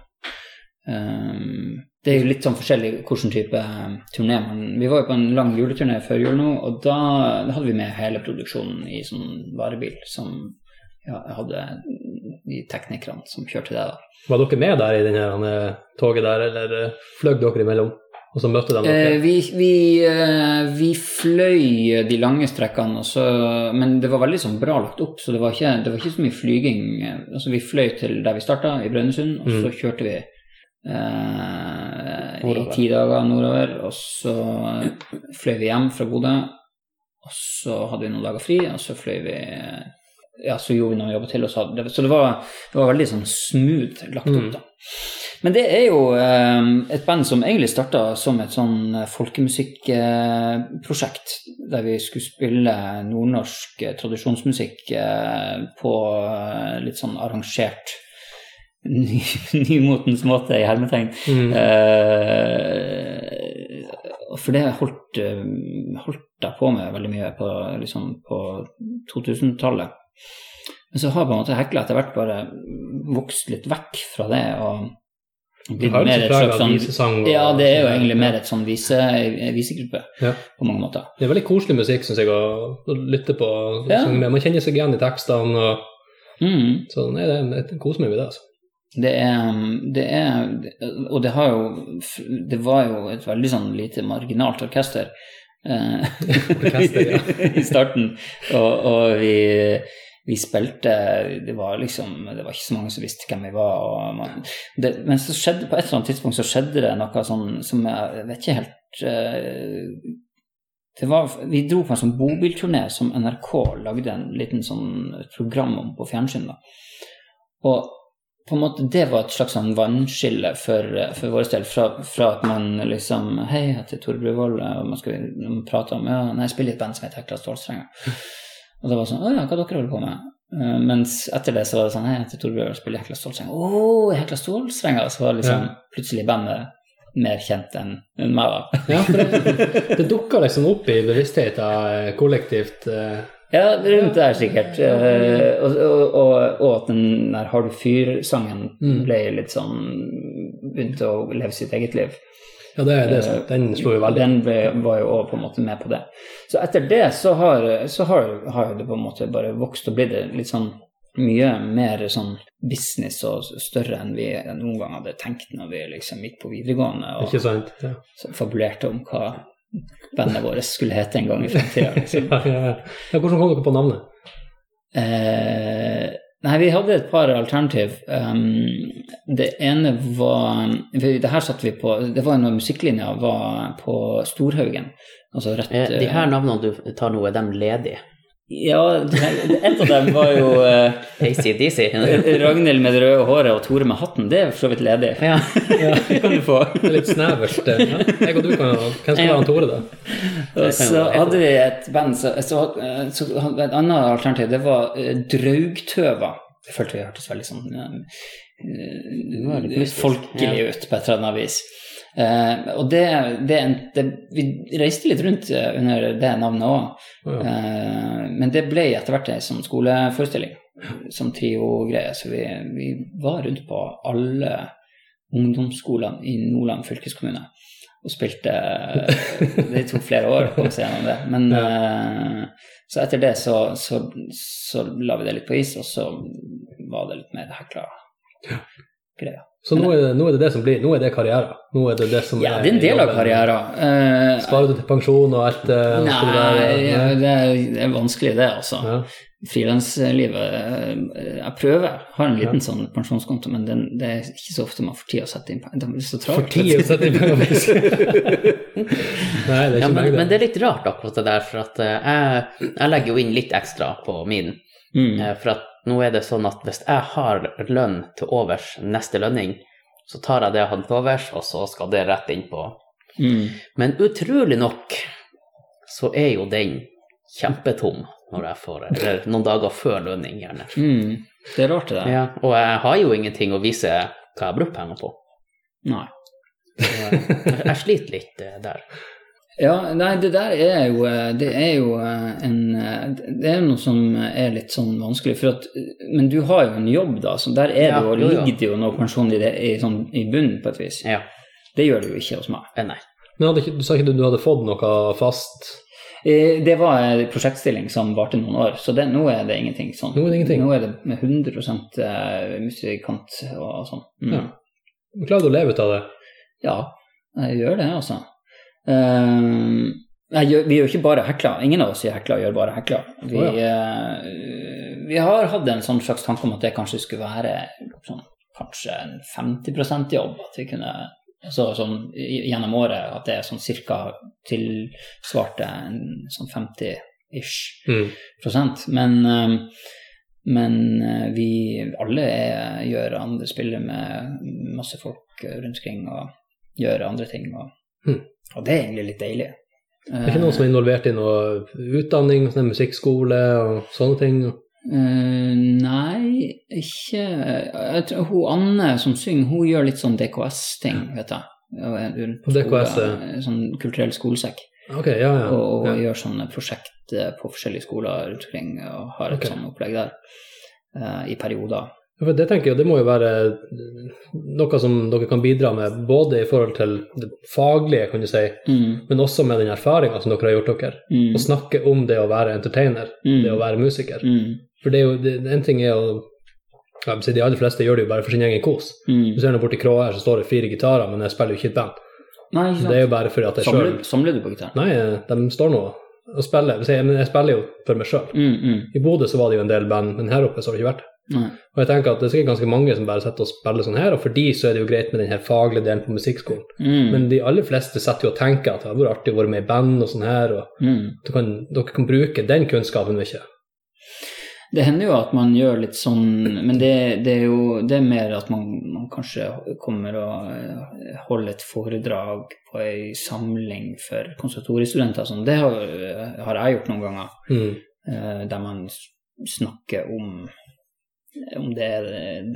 Ehm, det er jo litt sånn forskjellig hvilken type ehm, turné man Vi var jo på en lang juleturné før jul nå, og da, da hadde vi med hele produksjonen i sånn varebil som ja, hadde de teknikerne som kjørte det, da.
Var dere med der i den her, eh, toget der, eller eh, fløy dere imellom? Og så møtte de dere?
Eh, vi, vi, eh, vi fløy de lange strekkene, og så- men det var veldig sånn bra lagt opp, så det var ikke, det var ikke så mye flyging. Eh, Altså, vi fløy til der vi starta, i Brønnøysund, og
Mm.
så kjørte vi eh, i
Nordover.
ti dager nordover, og så eh, fløy vi hjem fra Bodø, og så hadde vi noen dager fri, og så fløy vi ja, så gjorde vi noen jobber til, og så, hadde- så det, var, det var veldig sånn smooth lagt opp,
Mm.
da. Men det er jo eh, et band som egentlig starta som et sånn folkemusikkprosjekt, der vi skulle spille nordnorsk eh, tradisjonsmusikk eh, på eh, litt sånn arrangert ny, nymotens måte, i hermetegn.
Mm.
Eh, for det holdt, eh, holdt jeg på med veldig mye på, liksom, på 2000-tallet. Men så har på en måte hekla etter hvert bare vokst litt vekk fra det. og
Vi
blitt
har jo
mer
ikke
et slags
plaga
sånn-
visesang. og-
Ja, det er jo egentlig
Ja.
mer et sånn vise, en visegruppe
Ja.
på mange måter.
Det er veldig koselig musikk, syns jeg, å å lytte på. og
Ja.
synge med. Man kjenner seg igjen i tekstene. og
Mm.
Så nei, det er jeg koser meg med det, altså.
Det er, det er Og det har jo Det var jo et veldig sånn lite marginalt orkester. eh,
Orkester, ja.
I starten. Og, og vi, vi spilte Det var liksom Det var ikke så mange som visste hvem vi var. Og man, det, men så skjedde, på et eller annet tidspunkt så skjedde det noe sånn som jeg, jeg vet ikke helt eh, det var, vi dro på en sånn bobilturné som NRK lagde en liten sånn program om på fjernsyn. da. Og på en måte, det var et slags sånn vannskille for, for vår del. Fra, fra at man liksom Hei, jeg heter Tore Bruvoll, og man skal man prate om Ja, nei, jeg spiller i et band som heter Hekla Stålstrenger. Og det var sånn Å ja, hva dere holder på med? Eh, mens etter det så var det sånn Hei, jeg heter Tore Bruvoll, spiller i Hekla Stålstrenger. Å, i Hekla Stålstrenger! Så var liksom plutselig bandet mer kjent enn enn meg, da.
Ja, for det, det dukka liksom opp i bevisstheten eh, kollektivt. eh,
Ja, rundt der sikkert. Eh, og, og, og, og at den der Har du fyr-sangen
Mm.
ble litt sånn Begynte å leve sitt eget liv.
Ja, det, det, er
Eh,
sant. den slo jo veldig.
Den ble, var jo også på en måte med på det. Så etter det så har, så har, har det på en måte bare vokst og blitt litt sånn mye mer sånn business og større enn vi noen gang hadde tenkt når vi liksom gikk på videregående og
Ikke sant? Ja.
fabulerte om hva bandet vårt skulle hete en gang i fremtida. Liksom.
Ja, ja, ja. eh, ja, hvordan kom dere på navnet?
Eh, nei, vi hadde et par alternativ. Um, det ene var for Det her satt vi på Det var jo når musikklinja var på Storhaugen. Altså rett
Eh, De
eh,
her navnene du tar nå, er de ledige?
Ja, det- et av dem var jo eh,
ACDC?
Ragnhild med det røde håret og Tore med hatten. Det er for så vidt ledig.
ja.
Det kan du få.
Det er litt snevert. eh, Ja. Jeg og du kan jo Hvem skal være han Tore, da?
Og så hadde vi et band så, så, så Et annet alternativ, det var eh, Draugtøva. Jeg følte vi hørtes veldig sånn eh,
var litt mystisk.
folkelig
Ja.
ut på et eller annet vis. Eh, og det, det, en- det Vi reiste litt rundt eh, under det navnet òg.
Å, ja.
Eh, men det ble etter hvert ei sånn skoleforestilling, som trio-greie. Så vi, vi var rundt på alle ungdomsskolene i Nordland fylkeskommune og spilte eh, Det tok flere år å komme seg gjennom det. Men eh, så etter det så, så, så la vi det litt på is, og så var det litt mer hekla greier.
Så nå er, det, nå er det det som blir. Nå er det karriere. Nå er det det som
Ja, det er en del av karrieren. Eh,
Sparer du til pensjon og alt? eh, og skal du være-
nei, det er, det er vanskelig, det, altså.
Ja.
Frilanslivet eh, Jeg prøver. Jeg har en liten sånn pensjonskonto, men den, det er ikke så ofte man får tid å sette inn penger. Det er så
For
travelt.
ti å sette i penger på is. Nei, det er ikke
ja, men,
meg,
men
det.
det er litt rart akkurat det der, for at eh, jeg, jeg legger jo inn litt ekstra på min.
Mm.
Eh, For at nå er det sånn at hvis jeg har lønn til overs neste lønning, så tar jeg det jeg hadde til overs, og så skal det rett inn på.
Mm.
Men utrolig nok så er jo den kjempetom når jeg får eller noen dager før lønning, gjerne.
Mm. Det er rart, det der.
Ja, og jeg har jo ingenting å vise hva jeg har brukt penger på.
Nei.
Så Jeg jeg sliter litt eh, der.
Ja, nei, det der er jo eh, Det er jo eh, en eh, Det er noe som er litt sånn vanskelig, for at Men du har jo en jobb, da, så der er
Ja,
det jo,
jo, ja.
ligger det jo noe pensjon i, det, i, sånn, i bunnen, på et vis.
Ja,
Det gjør det jo ikke hos meg.
eh, nei.
Men hadde ikke, du sa ikke du, du hadde fått noe fast?
Eh, Det var en prosjektstilling som varte noen år, så det, nå er det ingenting sånn.
Nå er det ingenting.
Nå er det med 100 eh, musikant og, og sånn. Mm.
Ja. Klarer du å leve ut av det?
Ja, jeg gjør det, altså. Eh, jeg gjør, vi er jo ikke bare hekla. Ingen av oss i hekla gjør bare hekla. Vi,
Å,
eh, vi har hatt en sånn slags tanke om at det kanskje skulle være sånn, kanskje en 50 jobb. At vi kunne, altså, sånn, i- gjennom året at det er sånn cirka tilsvarte en sånn 50-ish
Mm.
prosent. Men, eh, men eh, vi alle er, gjør andre spiller med masse folk eh, rundt omkring og gjør andre ting. Og,
Hmm.
og det er egentlig litt deilig.
Det er ikke noen som er involvert i noe utdanning, sånn musikkskole og sånne ting?
Eh, nei, ikke jeg tror, Hun Anne som synger, hun gjør litt sånn DKS-ting, vet jeg. Og er rundt på
DKS,
skolen, Sånn kulturell skolesekk.
Ok, ja, ja.
og, og
ja.
gjør sånne prosjekt eh, på forskjellige skoler rundt omkring og har et
Ok.
sånt opplegg der eh, i perioder.
Ja, For det tenker jeg, det må jo være noe som dere kan bidra med, både i forhold til det faglige, kan du si,
Mm,
men også med den erfaringa som dere har gjort dere.
mm,
Å snakke om det å være entertainer,
mm,
det å være musiker.
mm,
For det er jo, det, en ting er jo ja, men De aller fleste gjør det jo bare for sin egen kos.
mm.
Du ser nå borti kråa her, så står det fire gitarer, men jeg spiller jo ikke i et band.
Nei, ikke
Det er jo
sant.
bare fordi at jeg sjøl
Samler, samler du på gitar?
Nei, de står nå og spiller. Jeg, men jeg spiller jo for meg sjøl.
Mm, mm,
I Bodø så var det jo en del band, men her oppe så har det ikke vært det.
nei.
Og jeg tenker at det er sikkert ganske mange som bare sitter og spiller sånn her, og for de så er det jo greit med den her faglige delen på musikkskolen.
Mm,
Men de aller fleste sitter jo og tenker at det hadde vært artig å være med i band og sånn her, og
mm.
du kan, dere kan bruke den kunnskapen mye.
Det hender jo at man gjør litt sånn, men det, det er jo det er mer at man, man kanskje kommer og eh, holder et foredrag på ei samling for konservatoriestudenter og sånn. Det har, har jeg gjort noen ganger,
Mm.
eh, der man s- snakker om om det, er,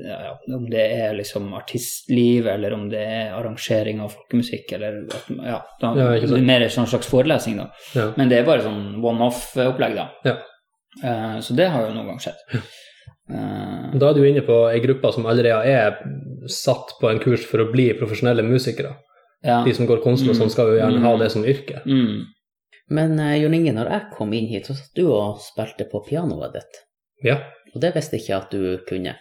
ja, om det er liksom artistliv, eller om det er arrangering av folkemusikk, eller at, ja, da,
Ja, ikke sant.
det er mer en sånn slags forelesning, da.
Ja.
Men det er bare sånn one-off-opplegg, da.
Ja.
Eh, så det har jo noen gang skjedd. Eh,
Da er du inne på ei gruppe som allerede er satt på en kurs for å bli profesjonelle musikere.
ja.
De som går kunstner og sånn, skal jo gjerne ha det som yrke.
Mm.
Men eh, Jon Inge, når jeg kom inn hit, så satt du og spilte på pianoet ditt.
Ja.
Og det visste ikke jeg at du kunne.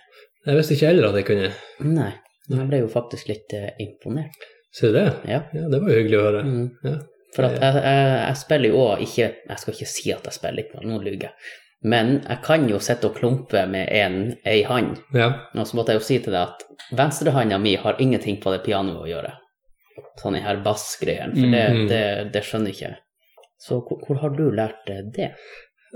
Jeg visste ikke heller at jeg kunne.
Nei. Jeg ble jo faktisk litt eh, imponert.
Ser du det?
Ja.
Ja, det var jo hyggelig å høre.
Mm.
Ja.
For at jeg, jeg, jeg spiller jo òg ikke Jeg skal ikke si at jeg spiller ikke, nå lyver jeg. Men jeg kan jo sitte og klumpe med en, ei hand.
Ja.
Og så måtte jeg jo si til deg at venstrehanda mi har ingenting på det pianoet å gjøre. Sånn den her bassgreien, for det,
Mm.
det, det skjønner ikke jeg. Så hvor, hvor har du lært eh, det?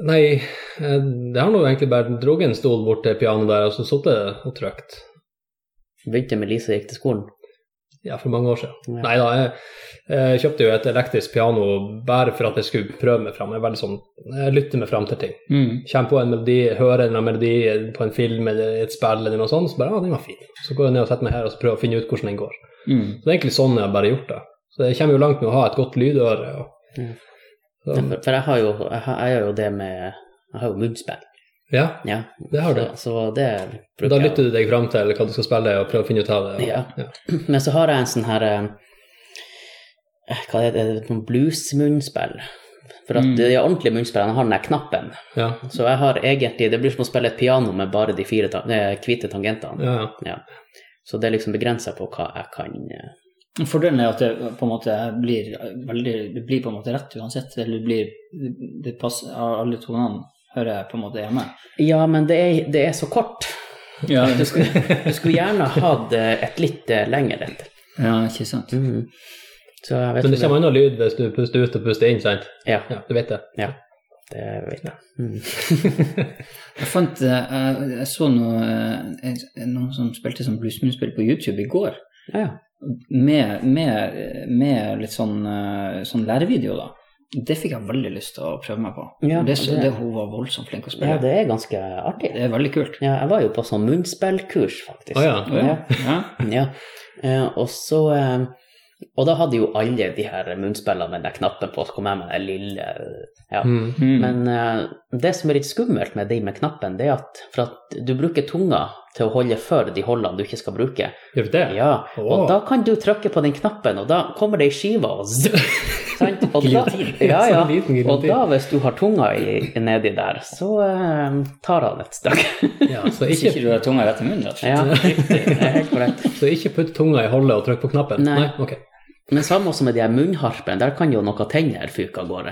Nei, eh, jeg har nå egentlig bare dratt en stol bort til pianoet der og så sittet og trykt.
Begynte med Lise gikk til skolen.
Ja, for mange år
Ja.
siden. Nei da, jeg, jeg kjøpte jo et elektrisk piano bare for at jeg skulle prøve meg fram. Jeg, er veldig sånn, jeg lytter meg fram til ting.
Mm.
Kommer på en melodi, hører en melodi på en film eller i et spill eller noe sånt, så bare ja, den var fin. Så går jeg ned og setter meg her og så prøver jeg å finne ut hvordan den går.
Mm.
Så det er egentlig sånn jeg har bare gjort det. Så jeg kommer jo langt med å ha et godt lydøre. Og,
Ja.
så,
Ja, For, for jeg har jo, jeg har, jeg gjør jo det med Jeg har jo munnspill.
ja,
Ja,
det har du.
så, så det
Og Da
bruker jeg.
lytter du deg fram til hva du skal spille og prøver å finne ut av det.
Ja. Men så har jeg en sånn her eh, Hva er det, noen blues-munnspill. For at
Mm.
de ordentlige munnspillene har den der knappen.
Ja.
Så jeg har egentlig Det blir som å spille et piano med bare de fire ta eh, hvite tangentene.
Ja. ja.
Så det er liksom begrensa på hva jeg kan eh,
Fordelen er at det på en måte blir veldig Det blir på en måte rett uansett. Eller det blir det passer, Alle tonene hører jeg på en måte hjemme.
Ja, men det er, det er så kort.
Ja,
Du skulle, du skulle gjerne hatt eh, et litt eh, lengre et.
ikke sant.
Mhm. Så jeg vet
Men det
ikke
kommer
om
annen lyd hvis du puster ut og puster inn, sant?
det- Ja,
Ja, du vet det.
ja. Det vet jeg. Mhm.
Jeg fant eh, Jeg, jeg så noe, eh, en- noen som spilte sånn bluesmunnspill på YouTube i går.
Ja, ja.
med, med, med litt sånn, eh, sånn lærevideo, da. Det fikk jeg veldig lyst til å prøve meg på.
Ja,
det, så-
det-
det, hun var voldsomt flink å
ja,
spille.
det er ganske
det...
artig.
er veldig kult.
Ja, jeg var jo på sånn munnspillkurs, faktisk.
Å ja.
Å, ja. Ja.
Ja, eh, og så eh, Og da hadde jo alle de her munnspillene med den der knappen på, så kom jeg med den lille Ja.
Mm.
Mm.
Men eh, det som er litt skummelt med de med knappen, det er at, for at du bruker tunga til å holde for de hullene du ikke skal bruke.
Gjør vi det?
Ja,
Åh.
Og da kan du trykke på den knappen, og da kommer det ei skive og zzz, sant? Og da, ja, ja.
Sånn liten
Og
giljotin.
da, hvis du har tunga i, nedi der, så eh, tar han et støkk.
Ja, så,
Hvis
ikke,
ikke du har tunga rett i munnen, rett og slett.
Ja, riktig. Det er helt korrekt.
så ikke putt tunga i hullet og trykk på knappen?
Nei.
ok.
Men samme også med de her munnharpene, der kan jo noen tenner fyke av gårde.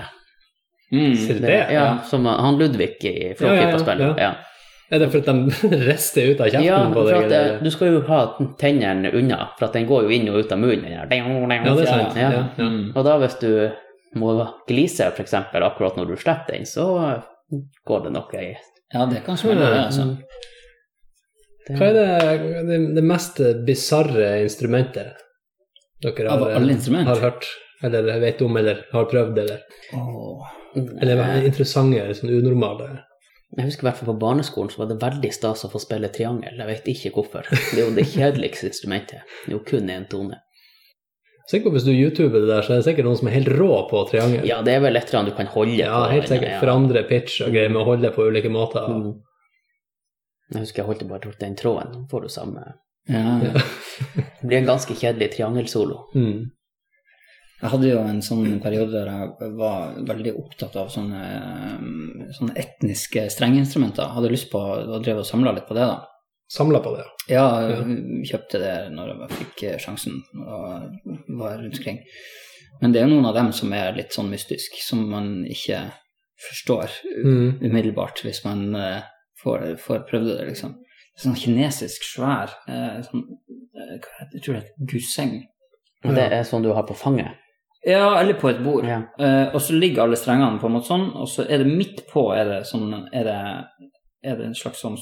Ser
Mm.
du det?
ja, Som han Ludvig i
Ja, ja, ja,
Flåklypa-spillet.
ja.
Ja.
Er det fordi de rister ut av
Ja,
kjeften på
for
deg?
at
eller?
eh, du skal jo ha tennene unna, for at den går jo inn og ut av munnen. Den her. Ding, ding,
ja, det er sant.
ja.
Ja. Ja.
Mm.
Og da hvis du må glise, for eksempel, akkurat når du slipper den, så går det noe i
ja, det kan smelle, det, altså.
Mm.
Hva er det, det, det mest bisarre instrumentet dere
Av
har, eh,
alle instrument?
har hørt, eller vet om, eller har prøvd, eller,
Åh.
eller er interessante, eller sånn unormale?
Mm. Jeg husker i hvert fall på barneskolen så var det veldig stas å få spille triangel. Jeg vet ikke hvorfor. Det er jo det kjedeligste instrumentet. Det er jo kun én tone.
Sikkert hvis du YouTuber det der, så er det sikkert noen som er helt rå på triangel.
Ja, det er vel et eller annet du kan holde
Ja,
på.
helt
den,
sikkert.
ja.
Forandre pitch og greier med å holde på ulike måter.
Mm. Jeg husker jeg holdt bare til den tråden. Nå får du samme
Ja.
Det blir en ganske kjedelig triangelsolo.
Mm.
Jeg hadde jo en sånn periode der jeg var veldig opptatt av sånne, eh, sånne etniske strengeinstrumenter. Hadde lyst på å drive og samle litt på det, da.
Samla på det, ja.
Ja,
Ja.
jeg kjøpte det når jeg bare fikk eh, sjansen og var rundt omkring. Men det er jo noen av dem som er litt sånn mystisk, som man ikke forstår
Mm.
umiddelbart hvis man eh, får, får prøvd det, liksom. Sånn kinesisk svær eh, sånn, eh, hva heter det? Jeg tror det heter gusseng.
Og det er sånn du har på fanget.
Ja, eller på et bord.
Ja.
Eh, og så ligger alle strengene på en måte sånn, og så er det midt på er det sånn er det er det en slags sånn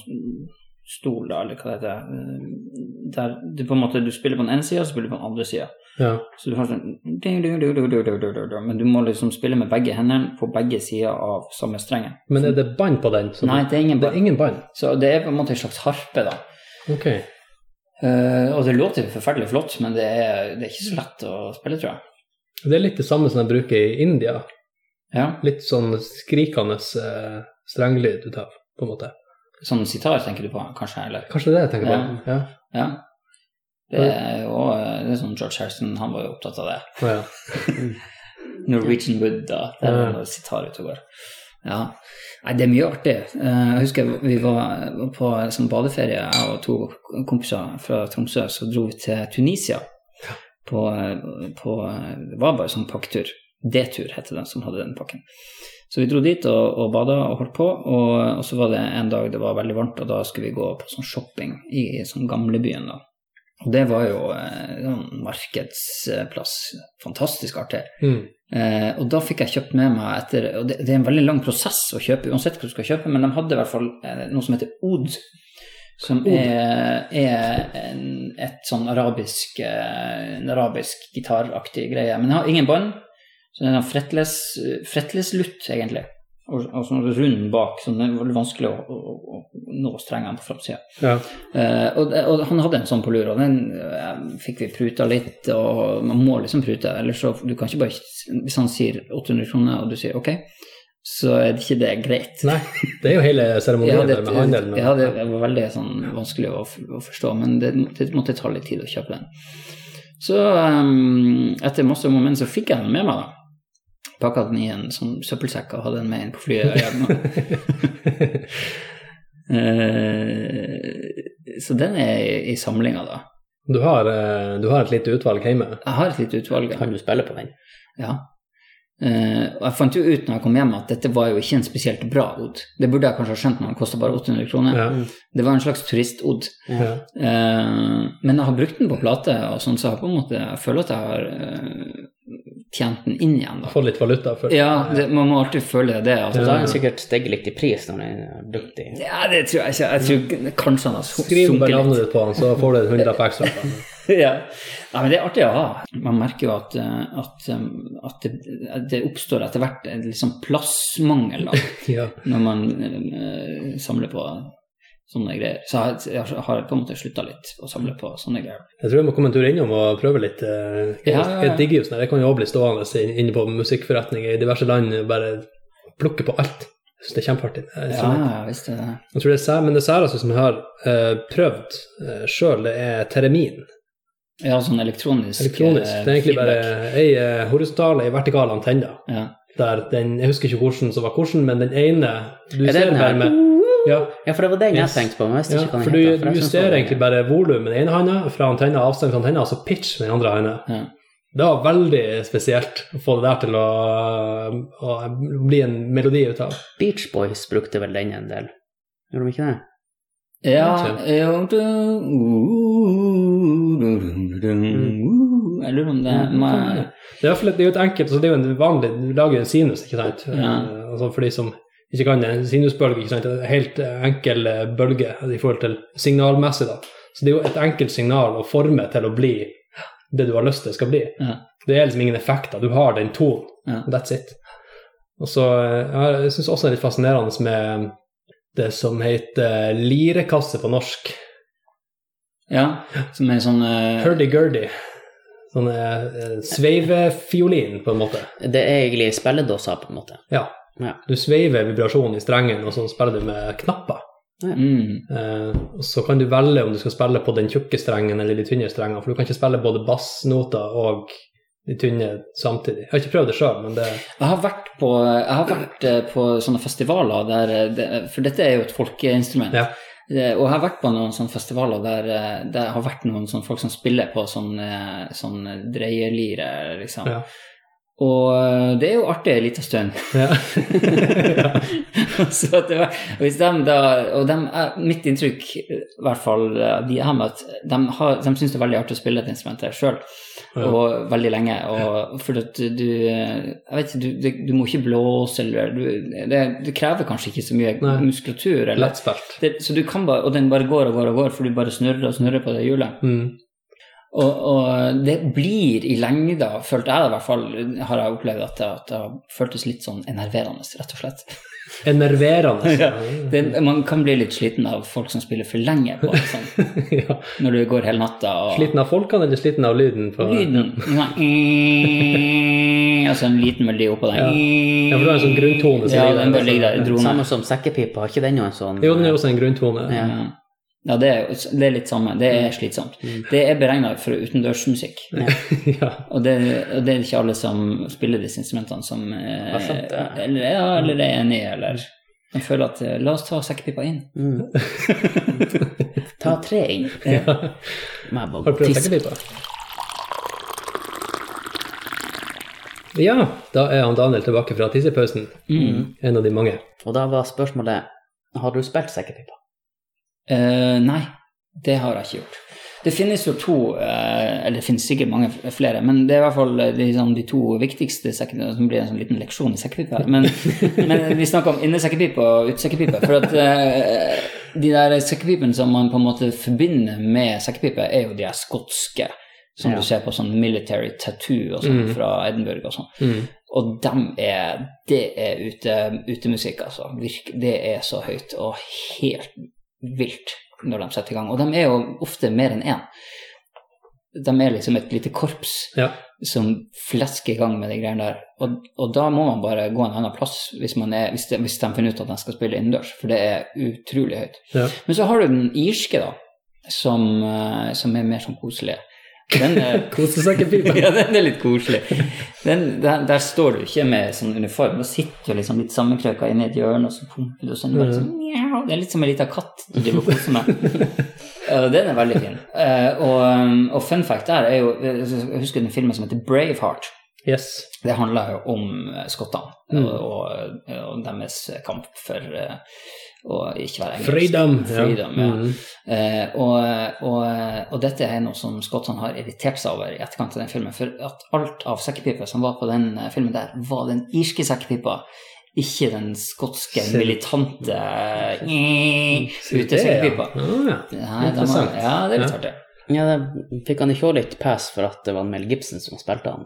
stol, da, eller hva det heter. eh, Der du på en måte du spiller på den ene sida, så spiller du på den andre sida.
Ja.
Så du har sånn ding, ding, ding, ding, ding, ding, ding, ding, Men du må liksom spille med begge hendene på begge sider av samme strengen.
Men er det bånd på den? Så
Nei, det er ingen
det er
bare.
ingen bånd.
Så det er på en måte en slags harpe, da.
Ok.
Eh, og det låter jo forferdelig flott, men det er, det er ikke så lett å spille, tror jeg.
Det er litt det samme som de bruker i India.
Ja,
Litt sånn skrikende eh, strenglyd ut av, på en måte.
Sånn sitar tenker du på, kanskje? eller?
Kanskje det er det jeg tenker på? Ja.
Ja. Det er jo eh, det er sånn George Harrison, han var jo opptatt av det.
Å, ja.
Norwegian Wood, da. Det er
Ja.
noe sitar ute og går. Ja. Nei, det er mye artig. Eh, Jeg husker vi var var på sånn badeferie, jeg og to kompiser fra Tromsø, så dro vi til Tunisia. På, eh, på Det var bare sånn pakketur. D-tur heter den som hadde den pakken. Så vi dro dit og, og bada og holdt på, og, og så var det en dag det var veldig varmt, og da skulle vi gå på sånn shopping i, i sånn gamlebyen, da. Og det var jo eh, sånn markedsplass. Fantastisk artig.
Mm.
Eh, og da fikk jeg kjøpt med meg etter Og det, det er en veldig lang prosess å kjøpe, uansett hva du skal kjøpe, men de hadde i hvert fall eh, noe som heter od. Som er, er en, et sånn arabisk, eh, en arabisk gitaraktig greie. Men den har ingen bånd, så den har fretless, fretless-lutt, egentlig. Og, og sånn rund bak, så det er veldig vanskelig å, å, å, å nå strengene på framsida.
ja.
Eh, og, det- og han hadde en sånn på lur, og den eh, fikk vi pruta litt, og man må liksom prute, ellers så du kan ikke bare Hvis han sier 800 kroner, og du sier ok, så er det ikke det greit.
Nei, det er jo hele seremonien
Ja, det,
der med handel. Med,
ja, det var veldig sånn vanskelig å, f- å forstå, men det, det måtte ta litt tid å kjøpe den. Så eh, etter masse om og men så fikk jeg den med meg, da. Pakka den i en sånn søppelsekk og hadde den med inn på flyet. hjem. Eh, så den er i, i samlinga, da.
Du, har, eh, du har et lite utvalg hjemme.
Jeg har et lite utvalg.
Kan du spille på den?
Ja. Eh, og jeg fant jo ut når jeg kom hjem at dette var jo ikke en spesielt bra odd. Det burde jeg kanskje ha skjønt når den kosta bare 800 kroner.
Ja.
Det var en slags turistodd.
Ja.
Eh, men jeg har brukt den på plate, og sånn, så jeg, har på en måte, jeg føler at jeg har eh, tjent den inn igjen. Da.
Få litt valuta for
Ja, det, man må alltid føle det. At,
Så
Ja.
da er den sikkert steget litt i pris når den er brukt i
ja, det tror jeg ikke. Jeg tror ikke- kanskje han har su-
Skriv
sunket
bare
litt.
navnet ditt på han, så får du en hundrelapp ekstra.
ja. Nei, men det er artig å ha. Man merker jo at, eh, at, eh, at det, det oppstår etter hvert en litt sånn plassmangel da,
Ja.
når man eh, samler på sånne greier. Så jeg, jeg har på en måte slutta litt å samle på sånne greier.
Jeg tror jeg må komme en tur innom og prøve litt. eh,
Ja, ja, ja.
Jeg digger jo sånn her. Jeg kan jo også bli stående inn- inne på musikkforretninger i diverse land og bare plukke på alt. Jeg synes det er kjempeartig. Jeg
Ja,
tror-
ja, visst er det det.
Jeg tror det er sær, men det særeste som jeg har eh, prøvd uh, sjøl, det er teremin.
Ja, sånn elektronisk
Elektronisk.
eh,
Det er egentlig bare
feedback.
ei eh, horisontal og ei vertikal antenne.
ja.
Der den, jeg husker ikke hvordan som var hvordan, men den ene du
Er det
ser
den
bare
her?
med ja,
Ja, for det var den jeg
Yes.
tenkte på. men jeg visste
ja,
ikke hva
for
den
du,
heter, for jeg
du
synes det
ser
var-
egentlig bare volum med den ene handa fra antenna, avstand fra antenna, altså pitch med den andre handa.
Ja.
Det var veldig spesielt å få det der til å, å bli en melodi ut av.
Beach Boys brukte vel den en del. Gjorde de ikke det?
Ja, jo, du-
Mm.
Jeg lurer om det er
Det er, i hvert fall et- det er jo et enkelt, så det er jo en vanlig, du lager jo en sinus, ikke sant?
Ja.
Eh, Altså for de som ikke kan det, en sinusbølge, ikke sant? Det er En helt eh, enkel eh, bølge altså, i forhold til signalmessig da. Så det er jo et enkelt signal å forme til å bli det du har lyst til skal bli.
Ja.
Det er liksom ingen effekter, du har den tonen,
Ja.
that's it. Og så, eh, ja, jeg synes også det er litt fascinerende med det som heter lirekasse på norsk.
Ja, som er sånn eh,
Hurdy-gurdy. Sånn eh, sveivefiolin på en måte.
Det er egentlig spilledåser, på en måte.
Ja.
Ja.
Du sveiver vibrasjonen i strengen, og så spiller du med knapper.
mm.
Eh, og så kan du velge om du skal spille på den tjukke strengen eller de tynne strengene, for du kan ikke spille både bassnoter og de tynne samtidig. Jeg har ikke prøvd det sjøl, men det
Jeg har vært på, jeg har vært eh, på sånne festivaler der eh, det, For dette er jo et folkeinstrument.
Ja.
Eh, Og jeg har vært på noen sånne festivaler der eh, det har vært noen sånne folk som spiller på sånn, eh, sånn dreielire, liksom.
Ja.
Og eh, det er jo artig en liten stund.
ja.
så at det var, og hvis dem da, og dem, er- eh, mitt inntrykk i hvert fall eh, de jeg har møtt, de, har, de syns det er veldig artig å spille et instrument der sjøl,
Ja.
og veldig lenge. Og for at du eh, Jeg vet ikke, du, det- du må ikke blåse, eller du, det, det krever kanskje ikke så mye
Nei.
muskulatur. Eller,
Lettspilt.
det, så du kan bare, og den bare går og går og går, for du bare snurrer og snurrer på det hjulet.
Mm.
Og, og det blir i lengda, følte jeg det i hvert fall, har jeg opplevd at det, at det føltes litt sånn enerverende, rett og slett.
Enerverende.
Ja. Det, man kan bli litt sliten av folk som spiller for lenge på, sånn,
ja.
når du går hele natta og
Sliten av folkene eller sliten av lyden? På,
Lyden. Sånn, altså en liten melodi oppå den.
Ja. Ja, for det er en sånn grunntone som
Ja,
ligger der,
den bare ligger der.
liksom.
Drone.
Samme som sekkepipa, har ikke den jo en sånn
Jo, den er også en grunntone.
Ja.
Ja, ja det, er, det er litt samme. Det er slitsomt.
Mm.
Det er beregna for utendørsmusikk.
ja.
Og det, og det er ikke alle som spiller disse instrumentene som eh,
Ja, sant det.
eller, ja, eller er enige, eller Jeg føler at eh, La oss ta sekkepipa inn.
mm. Ta tre inn.
Ja.
Må jeg bare
Har du
gå
prøvd
og tisse.
sekkepipa? Ja, da er han Daniel tilbake fra tissepausen.
Mm.
En av de mange.
Og da var spørsmålet har du spilt sekkepipa?
Eh, nei, det har jeg ikke gjort. Det finnes jo to, eh, eller det finnes sikkert mange f- flere, men det er i hvert fall eh, liksom de to viktigste sekkepipene som blir en sånn liten leksjon i sekkepipa. Men, men vi snakker om innesekkepipe og utesekkepipe. For at eh, de der sekkepipene som man på en måte forbinder med sekkepipe, er jo de her skotske. Som
Ja.
du ser på sånn military tattoo og sånn
Mm.
fra Edinburgh og sånn. Og dem er Det er ute, utemusikk, altså. Virk, det er så høyt og helt vilt når de setter i gang. Og de er jo ofte mer enn én. De er liksom et lite korps
Ja.
som flesker i gang med de greiene der. Og, og da må man bare gå en annen plass hvis, man er, hvis, de, hvis de finner ut at de skal spille innendørs, for det er utrolig høyt.
ja.
Men så har du den irske, da, som, eh, som er mer sånn koselig. Den eh, er
Kosesekkepipa.
ja, den er litt koselig. Den, der, der står du ikke med sånn uniform. Da sitter du liksom litt sammenkrøka inne i et hjørne, og så pumper du og sånn. Bare sånn mjau. Det er litt som en liten katt du driver og koser med. Eh, Den er veldig fin. Eh, Og, eh, og fun fact der er jo Jeg husker den filmen som heter Braveheart.
Yes.
Det handler jo om eh, skottene
Mm.
og, og, og deres kamp for eh, å ikke være engelsk.
Freedom.
Freedom, ja.
Mm.
Eh, og, og, og dette er noe som skottene har irritert seg over i etterkant av den filmen. For at alt av sekkepiper som var på den eh, filmen der, var den irske sekkepipa. Ikke den skotske
Se.
militante eh,
Se det,
utesekkepipa.
Ja. Ah, ja.
Nei, de har,
Interessant.
ja, det er litt
Ja.
artig.
Ja, da fikk han ikke også litt pass for at det var Mel Gibson som spilte han.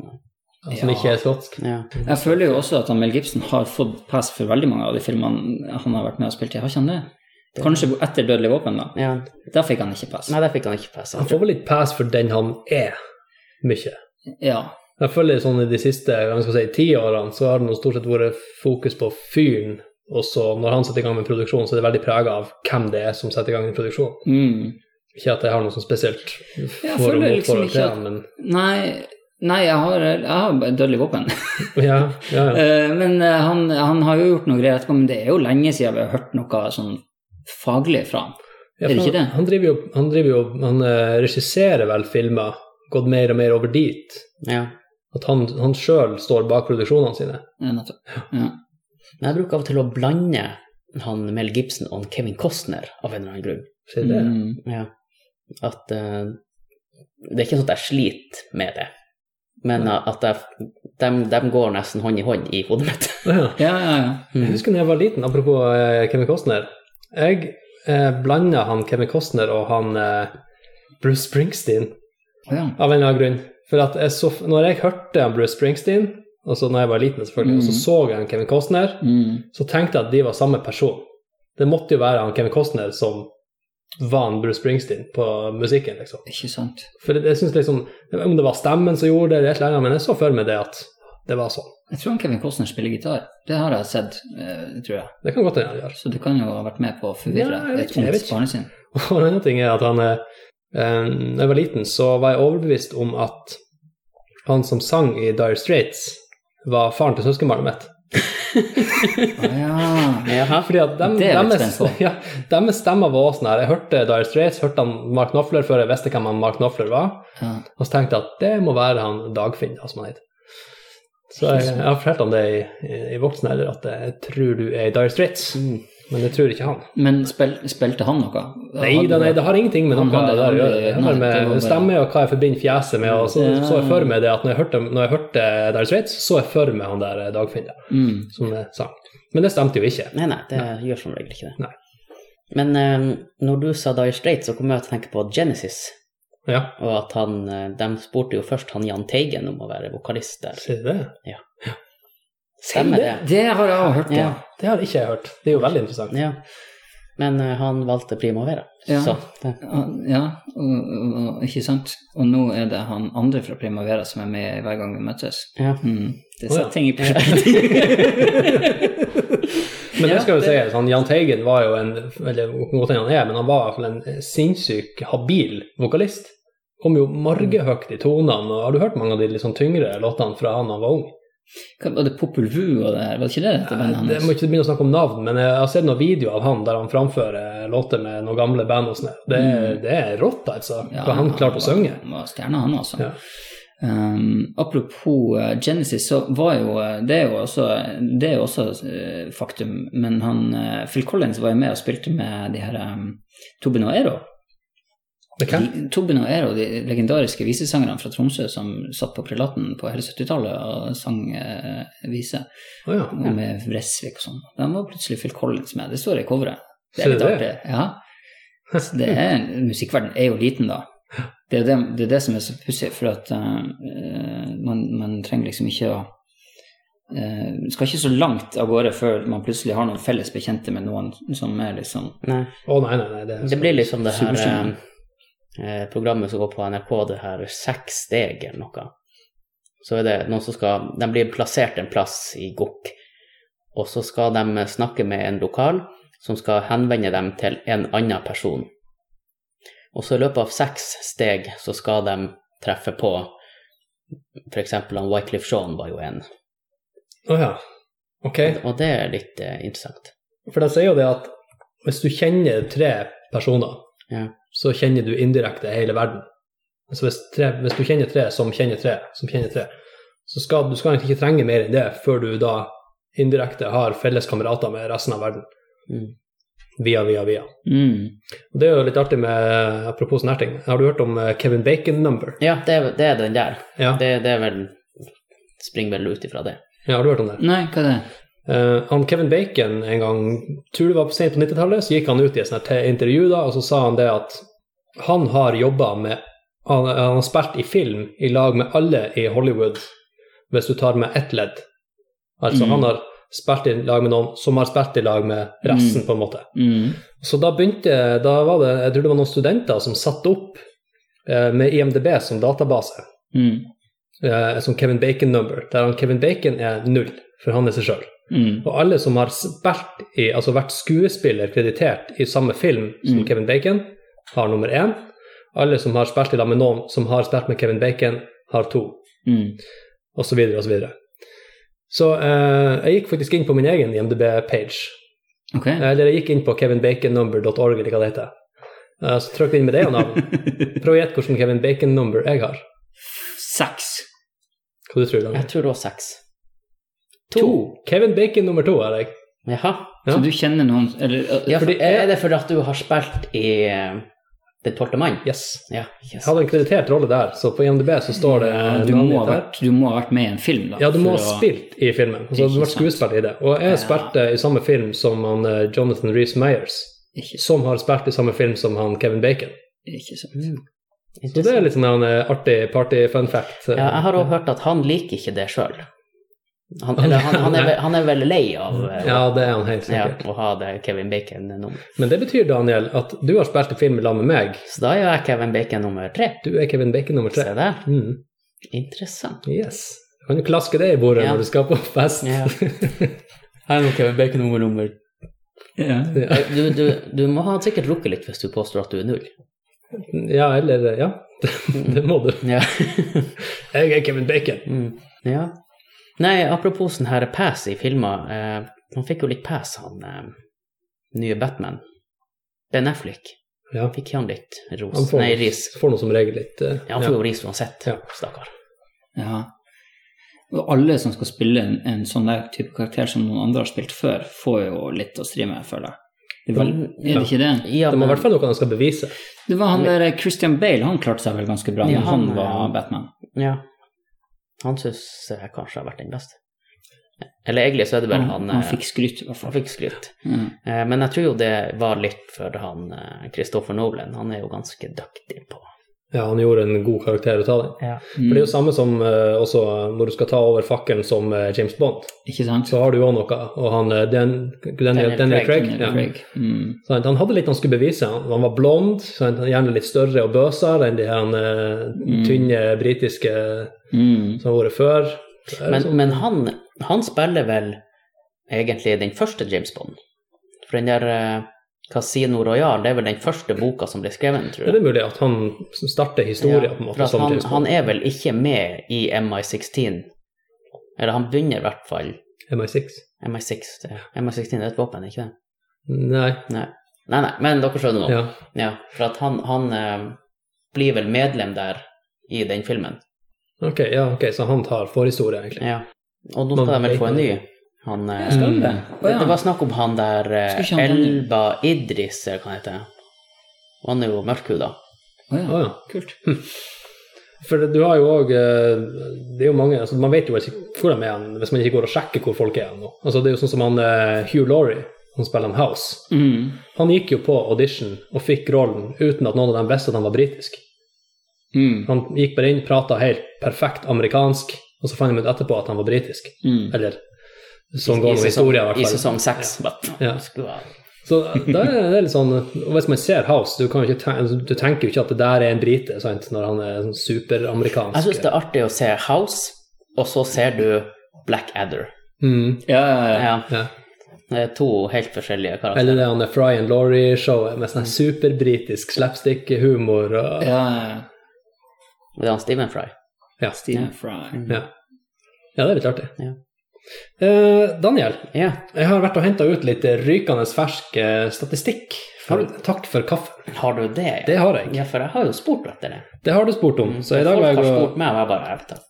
Som
Ja.
ikke er skotsk.
Ja.
Jeg føler jo også at han Mel Gibson har fått pass for veldig mange av de filmene han har vært med og spilt i. Har ikke han det? Kanskje etter 'Dødelig våpen', da.
ja.
Da fikk han ikke pass.
Nei, der fikk han ikke pass.
Han får vel litt pass for den han er, mye.
Ja.
Jeg føler sånn i de siste hva skal jeg si, ti årene så har det nå stort sett vært fokus på fyren, og så når han setter i gang med produksjon, så er det veldig prega av hvem det er som setter i gang med produksjon.
Mm.
Ikke at jeg har noe sånn spesielt
Jeg
for og
føler
mot
liksom
forhold
ikke
til
at-
han, men
Nei, nei, jeg har, jeg har dødelig våpen.
ja, ja, ja.
Eh, men eh, han, han har jo gjort noe greier etterpå, men det er jo lenge siden vi har hørt noe sånn faglig fra ham.
Ja,
Er det
for
ikke det?
Han, han driver jo, han, driver jo, han eh, regisserer vel filmer, gått mer og mer over dit.
Ja.
At han, han sjøl står bak produksjonene sine.
Eh, nettopp. Ja.
Men jeg bruker av og til å blande han Mel Gibson og han Kevin Costner av en eller annen grunn.
Sier det?
Mm.
Ja. At eh, Det er ikke sånn at jeg sliter med det, men at jeg, de, går nesten hånd i hånd i hodet mitt.
Ja.
ja, ja, ja.
Jeg husker da jeg var liten, apropos eh, Kevin Costner. Jeg eh, blanda han Kevin Costner og han eh, Bruce Springsteen
Å, ja.
av en eller annen grunn. For at jeg så, når jeg hørte han Bruce Springsteen, og så når jeg var liten selvfølgelig, og så
Mhm.
så jeg han Kevin Costner,
Mm.
så tenkte jeg at de var samme person. Det måtte jo være han Kevin Costner som var han Bruce Springsteen på musikken, liksom.
Ikke sant.
For jeg synes liksom, Om det var stemmen som gjorde det, eller et eller annet, men jeg så for meg det at det var sånn.
Jeg tror han Kevin Costner spiller gitar. Det har jeg sett, eh, tror jeg.
Det kan godt hende han gjør.
Så du kan jo ha vært med på å forvirre
Ja, jeg vet
et
ikke, jeg vet
ungt
ikke.
barnesinn.
Og en annen ting er at han eh, eh, Da jeg var liten, så var jeg overbevist om at han som sang i Dire Straits, var faren til søskenbarnet mitt.
Å, Ah, ja.
Jaha.
Fordi at dem,
Det er jeg litt
deres,
spent på.
ja, deres stemmer var også sånn her. Jeg hørte Dire Straits, hørte han Mark Knopfler før jeg visste hvem han Mark Knopfler var,
ja.
og så tenkte jeg at det må være han Dagfinn, da, som han heter. Så jeg, jeg har fortalt om det i, i, i voksen alder, at jeg tror du er i Dire Straits.
Mm.
Men det tror ikke han.
Men spil, spilte han noe?
Nei,
Hadde-
da, nei, det har ingenting med
Han
noe av det
hadde
der å gjøre.
aldri-
Det har
nei, det var
med
bare-
stemme og hva jeg forbinder fjeset med. Og så
Ja.
så jeg for meg det at når jeg hørte, når jeg hørte Dire Straits, så så jeg for meg han der eh, Dagfinn der,
Mm.
som eh, sang. Men det stemte jo ikke.
Nei, nei, det gjør som regel ikke det.
Nei.
Men eh, når du sa Dire Straits, så kom jeg til å tenke på Genesis.
Ja,
Og at han, eh, de spurte jo først han Jahn Teigen om å være vokalist der.
sier du det?
Stemmer det?
Det har jeg også hørt, ja.
Ja.
Det har ikke jeg hørt. Det er jo veldig interessant.
Ja. Men eh, han valgte Primavera.
Ja.
Så det,
Han- Ja, og, og, og, ikke sant? Og nå er det han andre fra Primavera som er med hver gang vi møtes.
ja.
Mm.
Å,
Det
ja.
setter ting i perspektiv.
Men det
Ja,
skal jo sies, han Jahn Teigen var jo en eller hvor godt enn han er, men han var i hvert fall en eh, sinnssyk habil vokalist. Kom jo margehøyt i tonene, og har du hørt mange av de litt sånn tyngre låtene fra han han var ung?
Hva var det Popol Vuh og det her? Var det ikke det dette bandet
Jeg må
hans?
ikke begynne å snakke om navn, men jeg har sett noen videoer av han der han framfører låter med noen gamle band og sånn. Det, er- det er rått, altså, hva han klarte å synge.
Han var stjerna, han også.
Ja.
Um, apropos eh, Genesis, så var jo eh, Det er jo også, det er jo også eh, faktum, men han eh, Phil Collins var jo med og spilte med de her um, Tobin og Ero.
Det kan.
De- Tobin og Ero, de legendariske visesangerne fra Tromsø som satt på Prelaten på hele 70-tallet og sang eh, vise,
Å ja.
og med Vresvik og sånn. De var plutselig Phil Collins med. Det står i coveret. Det
Ser
er litt
du
artig. Ja. Så det er, musikkverden er jo liten, da. Det er det, det, er det som er så pussig, for at eh, man, man trenger liksom ikke å eh, Skal ikke så langt av gårde før man plutselig har noen felles bekjente med noen som er liksom
Nei.
Å nei, nei, nei. Det,
Det blir liksom det her
Superstjerne.
eh, eh, programmet som går på NRK, det her seks steg eller noe. Så er det noen som skal De blir plassert en plass i gokk, og så skal de snakke med en lokal som skal henvende dem til en annen person. Og så i løpet av seks steg så skal de treffe på F.eks. han Wycliffe Shaun var jo en.
Å ja. Ok.
Og det er litt eh, interessant.
For de sier jo det at hvis du kjenner tre personer,
Ja.
så kjenner du indirekte hele verden. Så hvis, tre, hvis du kjenner tre som kjenner tre som kjenner tre, så skal du skal egentlig ikke trenge mer enn det før du da indirekte har felles kamerater med resten av verden.
Mm.
Via, via, via.
mm.
Og Det er jo litt artig med Apropos snerting. Har du hørt om eh, Kevin Bacon number?
Ja, det, er- det er den der.
Ja.
Det, det er vel Springer vel ut ifra det.
ja, har du hørt om det?
Nei, hva er det?
Eh, han Kevin Bacon en gang, tror det var på sent på 90-tallet, så gikk han ut i et sånt her te- intervju da, og så sa han det at han har jobba med han, han har spilt i film i lag med alle i Hollywood, hvis du tar med ett ledd. Altså,
Mm.
han har spilt i lag med noen som har spilt i lag med resten, på en måte.
Mm.
Så da begynte da var det, Jeg tror det var noen studenter som satte opp eh, med IMDb som database,
Mm.
eh, som Kevin Bacon-number, der han Kevin Bacon er null, for han er seg sjøl.
Mm.
Og alle som har spilt i, altså vært skuespiller kreditert i samme film som
Mm.
Kevin Bacon, har nummer én. Alle som har spilt i lag med noen som har spilt med Kevin Bacon, har to.
Mm.
Og så videre og så videre. Så eh, jeg gikk faktisk inn på min egen IMDb-page. Eh,
Ok.
Eller jeg gikk inn på kevinbaconnumber.org, eller hva det heter. Eh, så trykte jeg inn med det og navn. Prøv å gjette hvilken Kevin Bacon-number jeg har.
Seks.
Hva du tror du?
Jeg tror det var seks.
Kevin Bacon nummer to har jeg.
Jaha.
Ja.
Så du kjenner noen eller, eh, ø,
Ja, for,
Fordi-
er det fordi at du har spilt i eh, Den tolvte mann?
Yes.
Ja.
Jeg
Yes.
hadde en kreditert rolle der, så på IMDb så står det
du,
navnet
må ha
der.
vært, du må ha vært med i en film, da.
Ja, du må
for
ha
å-
spilt i filmen. Og så har du
Ikke
vært
sant.
skuespiller i det. Og jeg
Ja.
spilte i samme film som han eh, Jonathan Reece Meyers,
Ikke,
som har spilt i samme film som han Kevin Bacon.
ikke sant.
Mm.
Så det er litt sånn en eh, artig party-fun fact.
Ja, jeg har òg hørt at han liker ikke det sjøl. Han, eller han, han, er, ve- han er veldig lei av eh,
Ja, det er han helt
ja,
sikkert.
å ha det Kevin Bacon-nummer.
Men det betyr, Daniel, at du har spilt i film sammen med meg.
Så da gjør jeg Kevin Bacon nummer tre.
Du er Kevin Bacon nummer
Se
tre.
der.
Mm.
Interessant.
Yes. Du kan jo klaske det i bordet
Ja.
når du skal på fest.
Ja. Her er Kevin Bacon nummer nummer
Ja.
Ja.
Eh, du, du, du må ha sikkert rukket litt hvis du påstår at du er null.
ja, eller Ja, det må du.
Ja.
Jeg er Kevin Bacon.
Mm, ja. Nei, apropos sånn her pass i filmer. Eh, han fikk jo litt pass, han eh, nye Batman. Ben Affleck.
Ja.
Fikk han litt ros?
Han får,
Nei, ris.
får noe som regel litt eh,
Ja, han får jo ris uansett.
Ja.
Stakkar.
ja. Og alle som skal spille en, en sånn der type karakter som noen andre har spilt før, får jo litt å stri med, føler jeg. Det er, vel, er det ikke det?
Ja,
Det må i
men,
hvert fall noe han skal bevise.
Det var han der eh, Christian Bale, han klarte seg vel ganske bra
Ja,
når han
han,
var
eh,
Batman.
ja. Han syns jeg kanskje har vært den beste. Eller egentlig så er det vel
Han,
han
han
eh,
fikk skryt, i hvert
han
fall.
fikk skryt.
Ja.
Eh, Men jeg tror jo det var litt for han eh, Christopher Nolan. Han er jo ganske dyktig på
Ja, han gjorde en god karakter ut av det.
ja.
For det er
Mm,
jo samme som eh, også eh, når du skal ta over fakkelen som eh, James Bond,
ikke sant?
så har du jo også noe. Og han eh, Dan, Daniel, Daniel Craig,
Daniel
ja.
Craig. Mm.
Sant, han hadde litt han skulle bevise. Han han var blond, sant, han gjerne litt større og bøsere enn de her eh,
Mm.
tynne britiske
Mm.
som har vært før. Så er det
Men,
sånn-
men han, han spiller vel egentlig den første James Bond. For den der eh, Casino Royal, det er vel den første boka som ble skrevet,
er
tror
det
jeg.
mulig at han starter historien på en
for
måte
at
som
han,
James
han
Bond?
er vel ikke med i MI16. Eller han begynner i hvert fall
MI6?
MI6. det- MI16 er et våpen, ikke det?
Nei.
Nei. Nei, nei, men dere skjønner nå.
Ja.
Ja, for at han, han eh, blir vel medlem der i den filmen.
Ok, ja, ok, så han tar forhistorie, egentlig.
Ja. Og nå
Man
skal de vel
vet
få en
det.
ny. Han, eh,
Skal han det? Mm. Å,
det,
ja.
det var snakk om han der eh,
Skal ikke han-
Elba Idris, eller hva han heter. Og han er jo mørkhuda.
Å,
Å
ja.
ja. Hm.
Kult.
For du har jo òg Det er jo mange altså Man vet jo ikke hvor de er hen, hvis man ikke går og sjekker hvor folk er hen nå. Altså, det er jo sånn som han eh, Hugh Laurie, han spiller han House.
Mm.
Han gikk jo på audition og fikk rollen uten at noen av dem visste at han var britisk.
Mm.
Han gikk bare inn, prata helt perfekt amerikansk, og så fant de ut etterpå at han var britisk.
Mm.
Eller sånn går nå
I
historien, i hvert fall.
sesong seks. bare-
Ja.
Skulle ha-
Så da er det litt sånn Og hvis man ser House, du, kan jo ikke ten du tenker jo ikke at det der er en brite, sant, når han er
Jeg
sånn
syns
superamerikansk.
det er artig å se House, og så ser du Black Adder.
Mm,
Ja, ja, ja.
Ja,
ja.
det er to helt forskjellige karakterer.
Eller det han er Fry and Laurie-showet med
Mm.
sånn superbritisk slapstick-humor. og-
ja, ja, ja.
Det er han Stephen Fry.
Ja.
Stephen Fry.
Ja. ja, det er litt artig.
Ja.
Eh, Daniel,
Ja.
jeg har vært og henta ut litt rykende fersk eh, statistikk. For, takk for kaffen.
Har du det?
Det har jeg.
Ja, for jeg har jo spurt etter det.
Det har du spurt om. Så i dag var
Mm. Folk
jeg
har
og,
spurt meg, og jeg bare jeg vet det.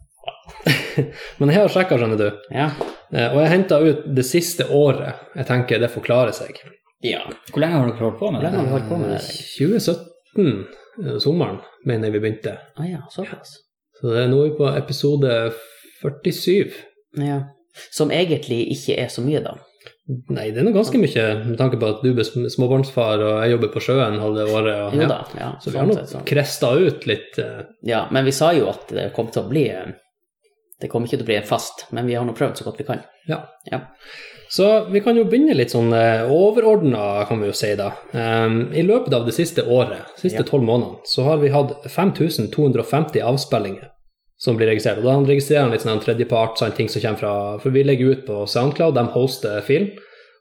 Men jeg har sjekka, skjønner du.
Ja.
Eh, og jeg henta ut det siste året. Jeg tenker det forklarer seg.
ja.
Hvor lenge har dere holdt på med
Hvor lenge
det?
har vi holdt på med det?
Eh, 2017, eh, sommeren, mener jeg vi begynte.
Å ja, såpass.
Så det er nå er vi på episode 47.
Ja. Som egentlig ikke er så mye, da.
Nei, det er nå ganske mye, med tanke på at du er sm- småbarnsfar og jeg jobber på sjøen halve året. Og,
Jo
ja.
da. Ja,
Så vi har
sånn
nå
sett, sånn.
kresta ut litt. eh,
Ja, men vi sa jo at det kom til å bli eh, Det kom ikke til å bli en fast, men vi har nå prøvd så godt vi kan.
Ja.
Ja.
Så vi kan jo begynne litt sånn overordna, kan vi jo si da. Ehm, I løpet av det siste året,
Ja.
siste tolv månedene, så har vi hatt 5250 avspillinger som blir registrert. Og da registrerer han litt sånn en tredjepart, sånn ting som kommer fra For vi legger ut på SoundCloud, de hoster film,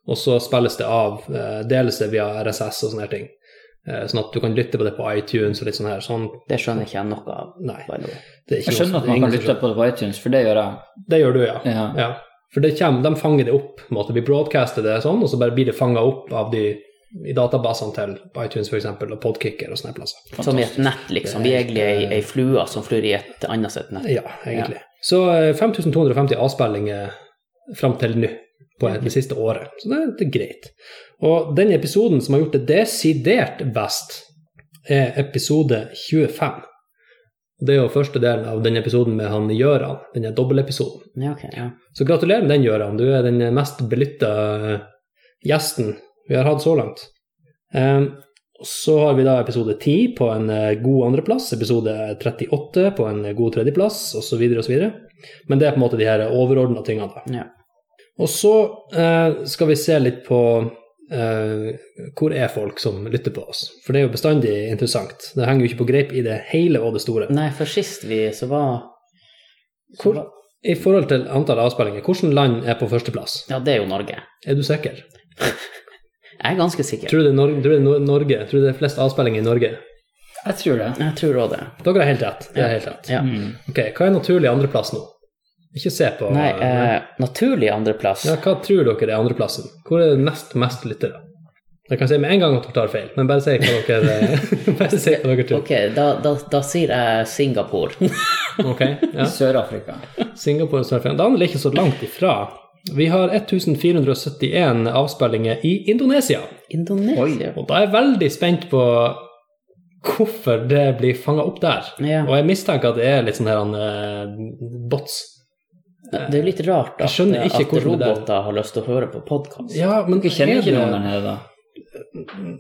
og så spilles det av, eh, deles det via RSS og sånne her ting. Eh, Sånn at du kan lytte på det på iTunes og litt sånn her. Sånn,
Det skjønner ikke jeg noe av.
nei.
by the way.
Det er ikke
Jeg skjønner
noe-
at
det er
man
ingen
kan
som
lytte på det på iTunes, for det gjør jeg.
skjønner. Det gjør du, ja.
Ja.
Ja, for det kommer, de fanger det opp. på en måte. Vi broadcaster det sånn, og så bare blir det fanga opp av de i databasene til iTunes for eksempel, og Podkicker og sånne plasser.
Som i et nett, liksom. Vi er egentlig ei, ei flue som flyr i et annet sitt nett.
Ja, egentlig. Så eh, 5250 avspillinger fram til nå på det siste året, så det, det er greit. Og den episoden som har gjort det desidert best, er episode 25. Det er jo første delen av den episoden med han Gjøran, denne dobbeltepisoden.
Ja, ok. Ja.
Så gratulerer med den, Gøran. Du er den mest belytta eh, gjesten vi har hatt så langt. Eh, og så har vi da episode 10 på en eh, god andreplass, episode 38 på en god tredjeplass, osv., osv. Men det er på en måte de her overordna tingene. da.
Ja.
Og så eh, skal vi se litt på eh, hvor er folk som lytter på oss? For det er jo bestandig interessant. Det henger jo ikke på greip i det hele og det store.
Nei, for sist vi så var så
Hvor,
var-
I forhold til antall avspillinger, hvilket land er på førsteplass?
Ja, det er jo Norge.
Er du sikker?
Jeg er ganske sikker.
Tror du det er Norge? Tror du det er Nor- Norge? Tror du det er flest avspillinger i Norge?
Jeg tror det.
Jeg tror òg det.
Dere har helt rett. Det er helt rett.
Ja.
Mm.
Ok, Hva er naturlig andreplass nå? Ikke se på eh,
Nei, eh, naturlig andreplass.
ja, Hva tror dere er andreplassen? Hvor er det nest mest lyttere? Jeg kan si med en gang at dere tar feil, men bare si hva dere, eh, bare si hva dere tror.
Ok, da, da, da sier jeg Singapore.
Ok, ja.
Sør-Afrika.
Singapore og Sør-Afrika. Da er det ikke så langt ifra. Vi har 1471 avspillinger i Indonesia.
Indonesia.
Og da er jeg veldig spent på hvorfor det blir fanga opp der.
Ja.
Og jeg mistenker at det er litt sånn her eh, bots.
Det er jo litt rart
Jeg
at, eh,
skjønner ikke
at
hvordan det er.
roboter har lyst til å høre på podkast.
Ja, men
Dere kjenner ikke noen der
er det
nede, da?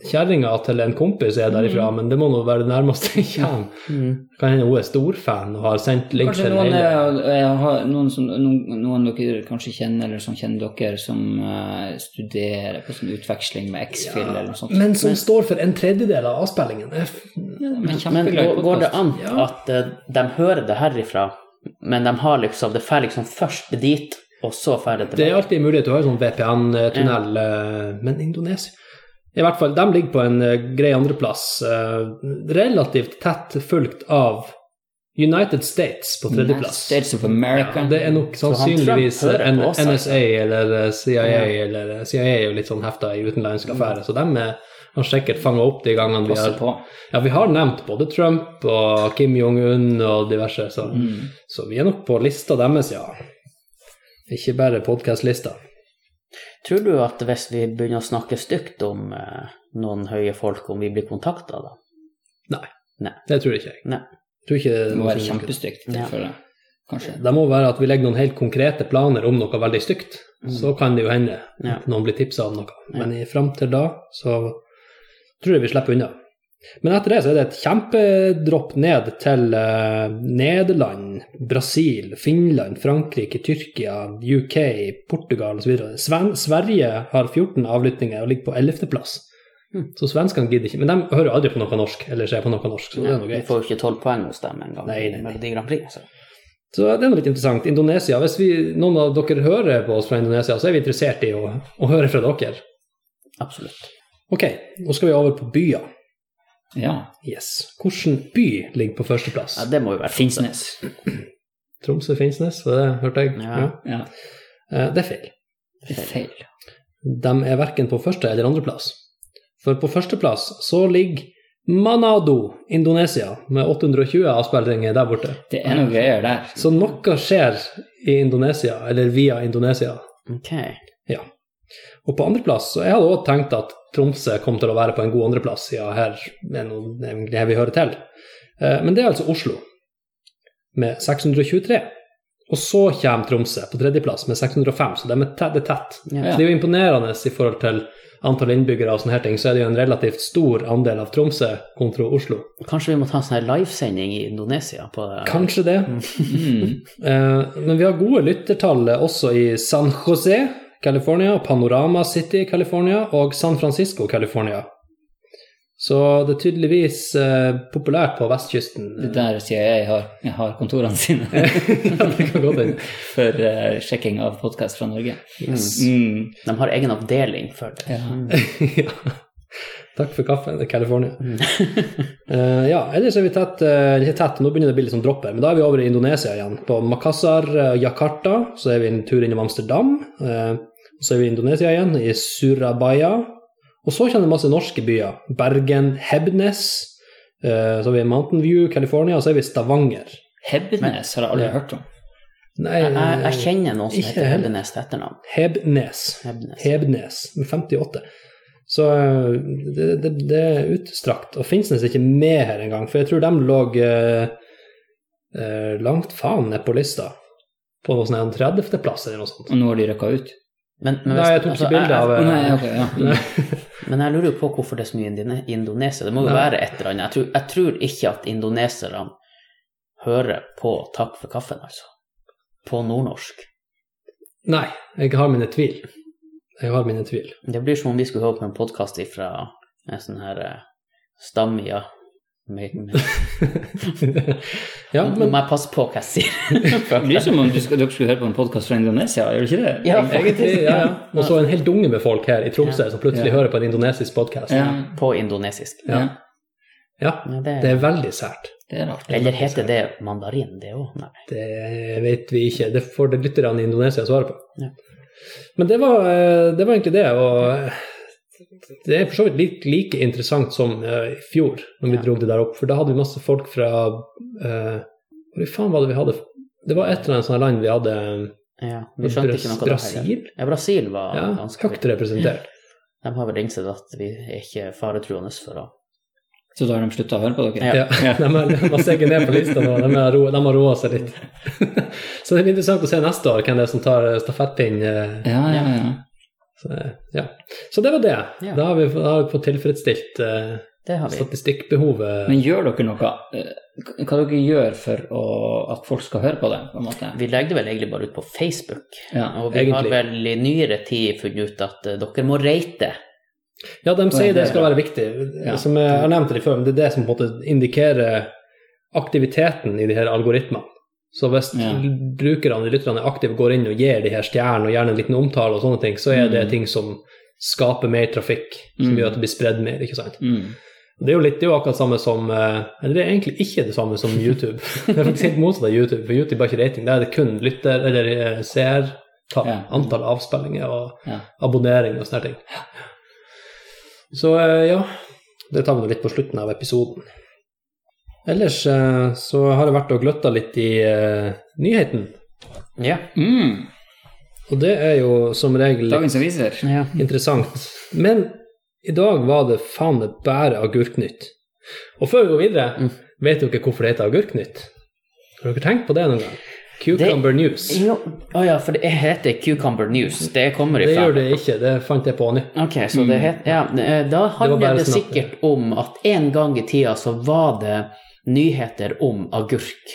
kjerringa til en kompis er derifra, men det må nå være det nærmeste jeg kommer.
Mm.
Kan hende hun er storfan og har sendt link
Kanskje
til
noen,
hele
eh, jeg har noen, som, noen, noen dere kanskje kjenner, eller som kjenner dere, som eh, studerer på sånn utveksling med X-Fill eller noe sånt.
Men som står for en tredjedel av avspillingen. Jeg f-
Ja, men
Men
kjempeglad i
går, går det
podcast.
an
Ja.
at eh, de hører det herifra, men de har liksom, det drar liksom først dit, og så drar det
Det er
tilbake?
alltid en mulighet, du har jo sånn VPN-tunnel, eh, men Indonesia I hvert fall, de ligger på en eh, grei andreplass, eh, relativt tett fulgt av United States på
United
tredjeplass.
States of America.
Ja, det er nok
han
sannsynligvis
Trump hører
en-
på oss, altså.
NSA eller eh, CIA, eller eh, CIA er jo litt sånn hefta i utenlandsk affære, så dem er- har sikkert fanga opp de gangene vi
Passe
har
på.
Ja, vi har nevnt både Trump og Kim Jong-un og diverse, så,
Mm.
så vi er nok på lista deres, ja. Ikke bare podkast-lista.
Tror du at hvis vi begynner å snakke stygt om eh, noen høye folk, om vi blir kontakta da?
Det tror ikke jeg.
Nei.
Tror ikke
Det må være kjempestygt, det
Ja.
føler jeg. Kanskje.
Det må være at vi legger noen helt konkrete planer om noe veldig stygt.
Mm.
Så kan det jo hende
Ja.
at noen blir tipsa om noe. Men i fram til da så tror jeg vi slipper unna. Men etter det så er det et kjempedropp ned til eh, Nederland, Brasil, Finland, Frankrike, Tyrkia, UK, Portugal osv. Sven Sverige har 14 avlyttinger og ligger på 11.-plass.
Mm.
Så svenskene gidder ikke. Men de hører jo aldri på noe norsk, eller ser på noe norsk, så det er
Ja,
noe
vi
greit.
får jo ikke tolv poeng hos dem engang
Nei,
i
nei, nei.
Melodi Grand Prix. Så.
Så det er noe litt interessant. Indonesia, hvis vi, noen av dere hører på oss fra Indonesia, så er vi interessert i å, å høre fra dere.
Absolutt.
Ok, nå skal vi over på byer.
Ja.
Yes. Hvilken by ligger på førsteplass?
Ja, det må jo være
Finnsnes.
Tromsø, Finnsnes, var det hørte jeg?
Ja.
Ja.
Eh, Det er feil.
Det er feil.
De er verken på første- eller andreplass. For på førsteplass så ligger Manado, Indonesia, med 820 avspillinger der borte.
Det er noe greier der.
Så noe skjer i Indonesia, eller via Indonesia.
Ok.
Og på andreplass så jeg hadde også tenkt at Tromsø kom til å være på en god andreplass, ja, her er noe egentlig her vi hører til. Eh, Men det er altså Oslo med 623. Og så kommer Tromsø på tredjeplass med 605, så de er tett, det er tett.
Ja.
Så det er jo imponerende i forhold til antall innbyggere og sånne her ting, så er det jo en relativt stor andel av Tromsø kontra Oslo.
Kanskje vi må ta en sånn her livesending i Indonesia? På, eh,
Kanskje det.
Mm.
Eh, Men vi har gode lyttertall også i San José, California, Panorama City, California og San Francisco, California. Så det er tydeligvis eh, populært på vestkysten.
Det der sier jeg jeg har, jeg har kontorene sine
Ja, det kan godt hende.
for eh, sjekking av podkast fra Norge.
Yes.
Mm.
De har egen avdeling for det. Mm.
Ja.
ja. Takk for kaffen, det er California.
Mm.
Eh, ja, ellers er vi tett, eh, ikke tett, nå begynner det å bli litt sånn dropper, men da er vi over i Indonesia igjen. På Makassar, eh, Jakarta, så er vi en tur innom Amsterdam. eh, så er vi i Indonesia igjen, i Surabaya. Og så kommer det masse norske byer. Bergen, Hebnes. eh, så har vi Mountain View, California, og så er vi i Stavanger.
Hebbenes har jeg aldri
Ja.
hørt om.
Nei,
Jeg, jeg, jeg kjenner noen som
Ikke
heter
heller.
Hebnes til etternavn.
Hebnes.
Hebnes.
Hebnes med 58. Så eh, det, det, det er utstrakt. Og Finnsnes er ikke med her engang, for jeg tror de lå eh, eh, langt faen ned på lista. På noe sånn 30.-plass eller noe sånt.
Og nå har de rykka ut.
Men, men, altså,
Nei, jeg tok ikke bilde av
Å, nei,
eh,
ok, ja.
men jeg lurer jo på hvorfor det er så mye indone- i Indonesia. Det må jo
Nei.
være et eller annet. Jeg tror, jeg tror ikke at indoneserne hører på Takk for kaffen, altså. På nordnorsk.
Nei, jeg har mine tvil. Jeg har mine tvil.
Det blir som om vi skulle høre på en podkast fra en sånn her eh, stamme, ja. Med, med.
ja,
Nå
men
må jeg passe på hva jeg sier.
Det blir som om du skal, dere skulle høre på en podkast fra Indonesia, gjør du ikke det?
Ja,
egentlig, ja, ja. Og så en hel dunge med folk her i Tromsø som plutselig hører på en indonesisk podkast.
Ja.
På indonesisk.
Ja.
Ja,
Ja, det,
det er veldig sært.
Det er rart.
eller heter det mandarin, det òg? Nei.
Det vet vi ikke. Det får det lytterne i Indonesia svare på.
Ja.
Men det var, eh, det var egentlig det. Og eh, det er for så vidt like, like interessant som eh, i fjor, når vi
Ja.
dro det der opp. For da hadde vi masse folk fra eh, Hvor i faen var det vi hadde Det var et eller annet sånt land vi hadde
Ja, vi skjønte ikke noe av det her.
Brasil?
Ja, Brasil var
Ja,
ganske
høyt representert.
De har vel innsett at vi er ikke faretruende for å
Så da har de slutta å høre på dere?
Ja.
Ja. De har de har steget ned på lista nå, de har roa- de har roa seg litt. Så det blir interessant å se neste år hvem det er som tar eh, stafettpinn. eh,
Ja, ja, ja.
Så, eh, ja. så det var det.
Ja.
Da, har vi, da har vi fått tilfredsstilt eh,
Det har vi.
statistikkbehovet.
Men gjør dere noe? eh, Hva dere gjør for å, at folk skal høre på det? på en måte?
Vi legger det vel egentlig bare ut på Facebook.
Ja.
Og vi
egentlig.
har vel i nyere tid funnet ut at eh, dere må rate.
Ja, de sier det skal
Ja.
være viktig.
Ja.
Som jeg har nevnt det før, men det er det som på en måte indikerer aktiviteten i de her algoritmene. Så hvis
Ja.
brukerne lytterne er aktive, går inn og gir de her stjernene og gjerne en liten omtale og sånne ting, så er det
Mm.
ting som skaper mer trafikk, som
Mm.
gjør at det blir spredd mer, ikke sant.
Mm.
Det er jo litt det er jo akkurat samme som eh, Eller det er egentlig ikke det samme som YouTube. det er faktisk helt motsatt av YouTube, for YouTube har ikke rating. Der er det kun lytter- eller eh, seertall,
Ja.
antall avspillinger og
Ja.
abonnering og sånne ting. Så eh, ja, det tar vi nå litt på slutten av episoden. Ellers eh, så har jeg vært og gløtta litt i eh, nyheten,
Ja.
Mm.
og det er jo som regel
Dagens aviser.
ja.
Interessant. Men i dag var det faen meg bare agurknytt. Og før vi går videre,
Mm.
vet dere hvorfor det heter agurknytt? Har dere tenkt på det noen gang? Cucumber News.
Jo, å ja, for det heter Cucumber News. Det kommer
Det
ifra.
gjør det ikke, det fant jeg på nå.
Ok, så det het, ja, eh, Da handler
bare
det,
sånn at-
sikkert om at en gang i tida så var det nyheter om agurk.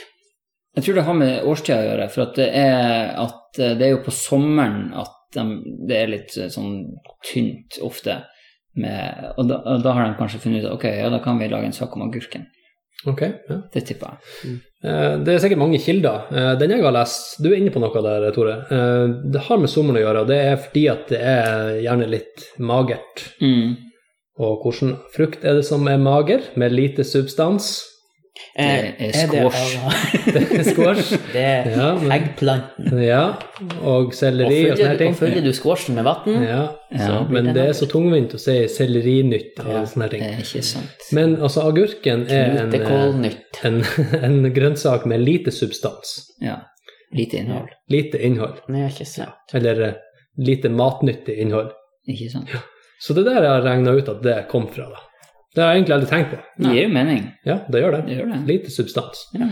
Jeg tror det har med årstida å gjøre, for at det, er at eh, det er jo på sommeren at de, det er litt eh, sånn tynt ofte. Med, og, da, og da har de kanskje funnet ut ok, ja, da kan vi lage en sak om agurken.
Ok, ja.
Det tipper jeg.
Eh, Det er sikkert mange kilder. Eh, Den jeg har lest, du er inne på noe der, Tore. Eh, Det har med sommeren å gjøre, og det er fordi at det er gjerne litt magert.
Mm.
Og hvilken frukt er det som er mager, med lite substans?
Eh,
Det er
det-
Det er squash.
Det er
Ja, men-
eggplanten.
Ja, og
Og
selleri og, sånne
fyller,
her ting.
og fyller du squashen med vann
Ja,
Ja.
men det Eh, er så tungvint å si sellerinytt og sånne her
Det
ting.
er ikke sant.
Men altså, agurken er en, eh,
Knutekålnytt.
en, en grønnsak med lite substans.
Ja. Lite innhold.
Lite innhold.
Nei, ikke sant.
Eller eh, lite matnyttig innhold.
Ikke sant.
Så det der jeg har regna ut at det kom fra, da. Det har jeg egentlig aldri tenkt på.
Det gir jo mening.
Ja, det gjør
Det
det.
gjør det.
Lite substans.
Ja.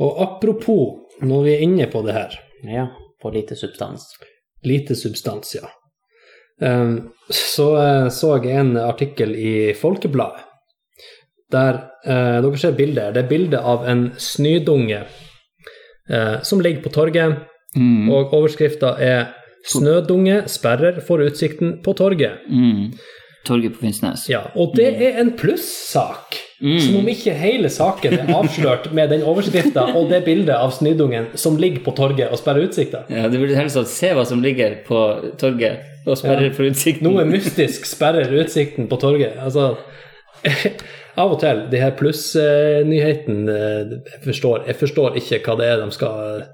Og apropos, når vi er inne på det her
Ja, på lite substans.
Lite substans, ja. Ehm, så eh, så jeg en artikkel i Folkebladet. Der eh, Dere ser bildet. her. Det er bilde av en snødunge eh, som ligger på torget,
Mm.
og overskrifta er 'Snødunge sperrer for utsikten på torget'.
Mm. Torget på Finnsnes.
Ja, Og det er en plussak!
Mm.
Som om ikke hele saken er avslørt med den overskrifta og det bildet av snødungen som ligger på torget og sperrer utsikta.
Ja, du burde helst se hva som ligger på torget, og sperrer for utsikten.
Noe mystisk sperrer utsikten på torget. Altså, av og til, de her plussnyhetene eh, jeg, forstår- jeg forstår ikke hva det er de skal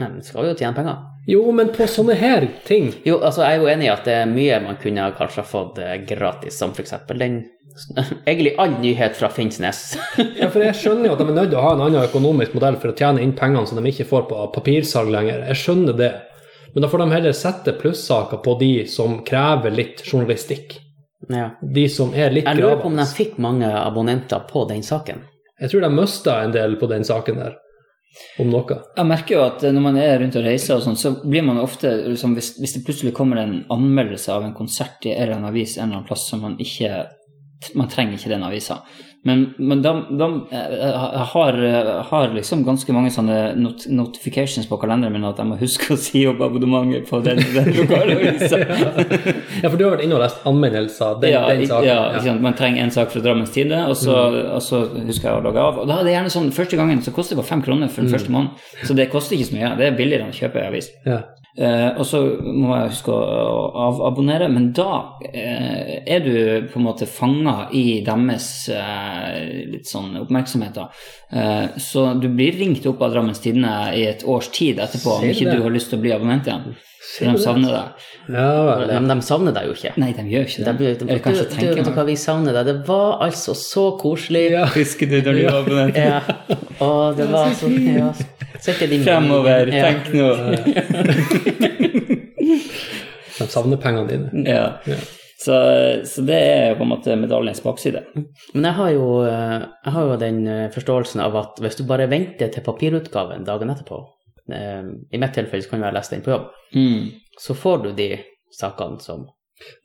Nei, men skal jo tjene penger.
Jo, men på sånne her ting
Jo, altså jeg er jo enig i at det er mye man kunne ha kanskje ha fått eh, gratis, som f.eks. den Egentlig all nyhet fra Finnsnes.
ja, For jeg skjønner jo at de er nødt til å ha en annen økonomisk modell for å tjene inn pengene som de ikke får på papirsalg lenger. Jeg skjønner det. Men da får de heller sette plussaker på de som krever litt journalistikk.
ja.
De som er litt
Jeg lurer på om
gravende.
de fikk mange abonnenter på den saken.
Jeg tror de mista en del på den saken der, om noe.
Jeg merker jo at eh, når man er rundt og reiser og sånn, så blir man ofte liksom, hvis, hvis det plutselig kommer en anmeldelse av en konsert i en eller annen avis en eller annen plass, så man ikke Man trenger ikke den avisa. Men, men de, de eh, har, har liksom ganske mange sånne not notifications på kalenderen min at jeg må huske å si opp abonnementet på den, den lokale avisa.
Ja, for du har vært inne og lest anmeldelser. Den,
ja,
den
i-
saken. Mm.
ja, ikke sant? Man trenger en sak fra Drammens Tidende, og, så- og så husker jeg å logge av. Og da er
Mm.
det gjerne sånn, Første gangen så koster det bare fem kroner for den første måneden, så det koster ikke så mye. Det er billigere enn å kjøpe en avis.
Ja.
Eh, og så må jeg huske å avabonnere, men da eh, er du på en måte fanga i deres eh, litt sånn oppmerksomheter. Eh, så du blir ringt opp av Drammens Tidende i et års tid etterpå om
Ser du
ikke
det?
du har lyst til å bli abonnent igjen. For de savner deg.
Ja, vel, ja.
Men de savner deg jo ikke.
Nei, de gjør ikke
De,
det.
de, de,
Eller
du,
kanskje
du,
tenker
vet du hva, vi savner deg. Det var altså så koselig.
Ja.
Husker du da du var abonnent?
Ja. Og det var så ja. Sikkert i-
Fremover,
Ja.
tenk nå.
De savner pengene dine.
Ja. Så, så det er på en måte medaljens bakside.
Men jeg har, jo, eh, jeg har jo den eh, forståelsen av at hvis du bare venter til papirutgaven dagen etterpå eh, I mitt tilfelle så kan jo jeg lese den på jobb.
Mm.
Så får du de sakene som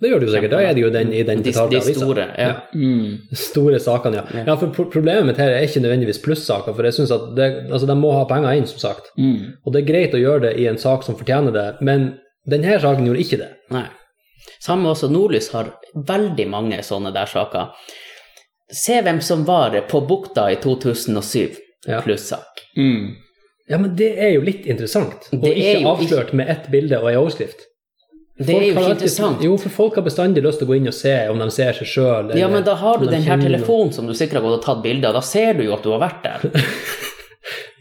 Det gjør du jo sikkert. Da er det jo den i den
De,
betalte
de
avisa.
store. Ja.
Mm.
Store sakene, ja. ja for pro- problemet mitt her er ikke nødvendigvis plussaker, for jeg synes at det, altså, de må ha penger inn, som sagt.
Mm.
Og det er greit å gjøre det i en sak som fortjener det, men denne saken gjorde ikke det.
Nei. Samme også Nordlys har veldig mange sånne der saker. Se hvem som var på bukta i 2007,
Ja.
plussak.
Mm.
Ja, men det er jo litt interessant. Og
Det er
ikke
jo
avslørt med ett bilde og ei overskrift.
Det er
Folk
jo
har
ikke
alltid-
interessant.
Jo, for folk har bestandig lyst til å gå inn og se om de ser seg sjøl.
Ja, men da har du den her telefonen som du sikkert har gått og tatt bilde av, da ser du jo at du har vært der.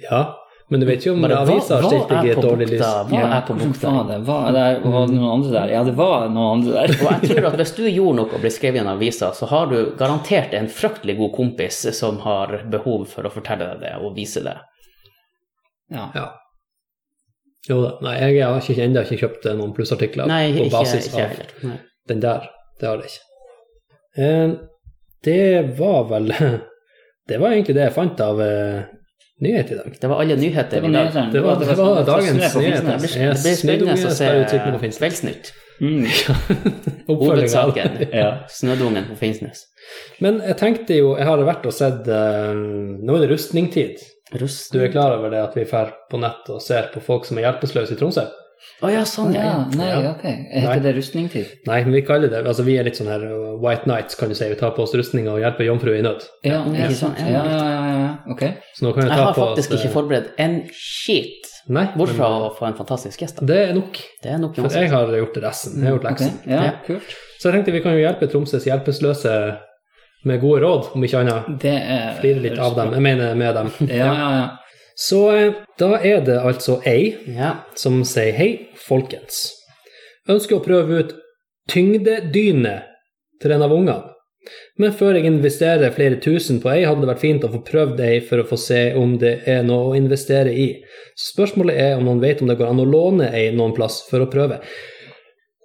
Ja, men du vet jo om
Bare, hva,
avisa har
hva
stilt deg
er
i et
på
dårlig
bukta?
lys.
Hva
Ja,
er på
hvordan
bukta?
faen det var der, var det noen andre der? Ja, det var noen andre
Og
der.
jeg tror at hvis du gjorde noe og ble skrevet i en avisa, så har du garantert en fryktelig god kompis som har behov for å fortelle deg det og vise det.
Ja.
Ja. Jo da. Nei, jeg har ikke, ennå ikke kjøpt eh, noen plussartikler
Nei,
på
ikke,
basis
ikke
av
heller. Nei.
den der. Det har jeg ikke. Eh, det var vel Det var egentlig det jeg fant av eh, nyhet i dag.
Det var alle nyheter
Det var
i dag.
nyhetene.
Det var, det var dagens
Det
nyheter.
blir, det blir spennende å
Snødungen
se Kveldsnytt.
Mm.
Oppfølgingen av-
Hovedsaken.
Ja.
Snødungen på Finnsnes.
Men jeg tenkte jo, jeg har vært og sett eh, Nå er det rustningtid.
Rust
Du er klar over det at vi drar på nett og ser på folk som er hjelpeløse i Tromsø?
Å ja, sånn,
Ja,
ja.
nei,
Ja.
ok. Heter det rustningtid?
Nei, men vi kaller det Altså, vi er litt sånn her uh, White Nights, kan du si. Vi tar på oss rustninga og hjelper jomfruer i nød.
Ja,
Ja, ikke sant.
sånn,
Ja,
ja.
ja, ja, ja. Ok.
Så nå kan vi
Jeg
ta
har
på
faktisk
oss,
ikke
uh,
forberedt en skit,
Nei,
bort fra å få en fantastisk gjest. da.
det er nok.
Det er nok
For
uansett.
jeg har gjort resten. Jeg har gjort
ok.
leksen.
Ja,
Ja.
kult.
Så jeg tenkte vi kan jo hjelpe Tromsøs hjelpeløse med gode råd, om ikke annet.
Det er
Flire litt av dem. Jeg mener med dem.
Ja, ja, ja.
Så eh, da er det altså ei
Ja.
som sier hei, folkens. Ønsker å prøve ut tyngdedyne til en av ungene. Men før jeg investerer flere tusen på ei, hadde det vært fint å få prøvd ei for å få se om det er noe å investere i. Spørsmålet er om noen vet om det går an å låne ei noen plass for å prøve.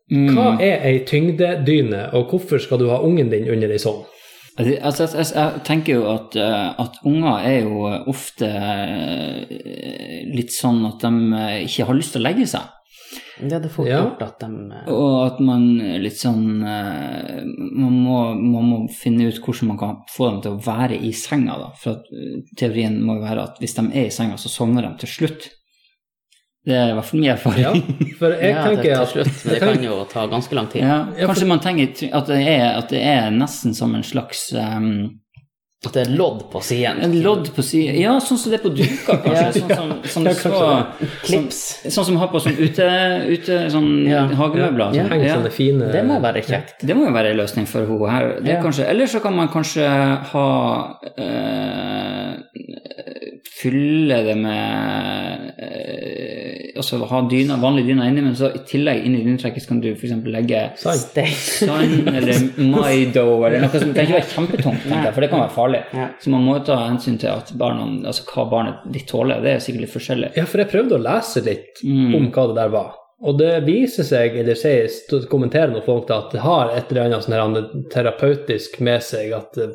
Mm.
Hva er ei tyngdedyne, og hvorfor skal du ha ungen din under ei sånn?
Altså, altså, jeg, jeg, jeg tenker jo at, eh, at unger er jo ofte eh, litt sånn at de eh, ikke har lyst til å legge seg.
Det hadde fort
Ja.
gjort at de eh,
Og at man litt sånn eh, man må, man må finne ut hvordan man kan få dem til å være i senga, da. For at eh, teorien må jo være at hvis de er i senga, så sovner de til slutt. Det er i hvert fall min
Ja,
erfaring.
for jeg
ja, det,
tenker
til
at
slutt, men det
jeg tenker-
kan jo ta ganske lang tid.
Ja,
Ja, for-
kanskje man tenker tr- at det, er, at det er nesten som en slags um,
At det er lodd på siden.
en lodd på sida Ja, sånn som det er på duka,
Ja.
kanskje. Sånn som, som
Ja,
du så,
Klips.
sånn, sånn som vi har på sånn ute, ute sånn
Ja.
hagemøbler.
Ja.
sånn.
Heng
Ja.
sånne fine
Det må være kjekt.
Det må jo være en løsning for henne her. Det er
Ja.
kanskje, eller så kan man kanskje ha eh, Fylle det med eh, Altså ha dyna, vanlig dyna inni, men så i tillegg inni dynetrekket så kan du f.eks. legge
Sånn.
Stein.
sand eller Maido eller noe som det kan ikke være kjempetungt, tenker jeg, for det kan være farlig.
Ja.
Så man må jo ta hensyn til at barna, altså hva barnet ditt tåler. Det er sikkert litt forskjellig.
Ja, for jeg prøvde å lese litt
Mm.
om hva det der var. Og det viser seg, eller sies, kommenterer noen folk da, at det har et eller annet sånn her an- terapeutisk med seg at eh,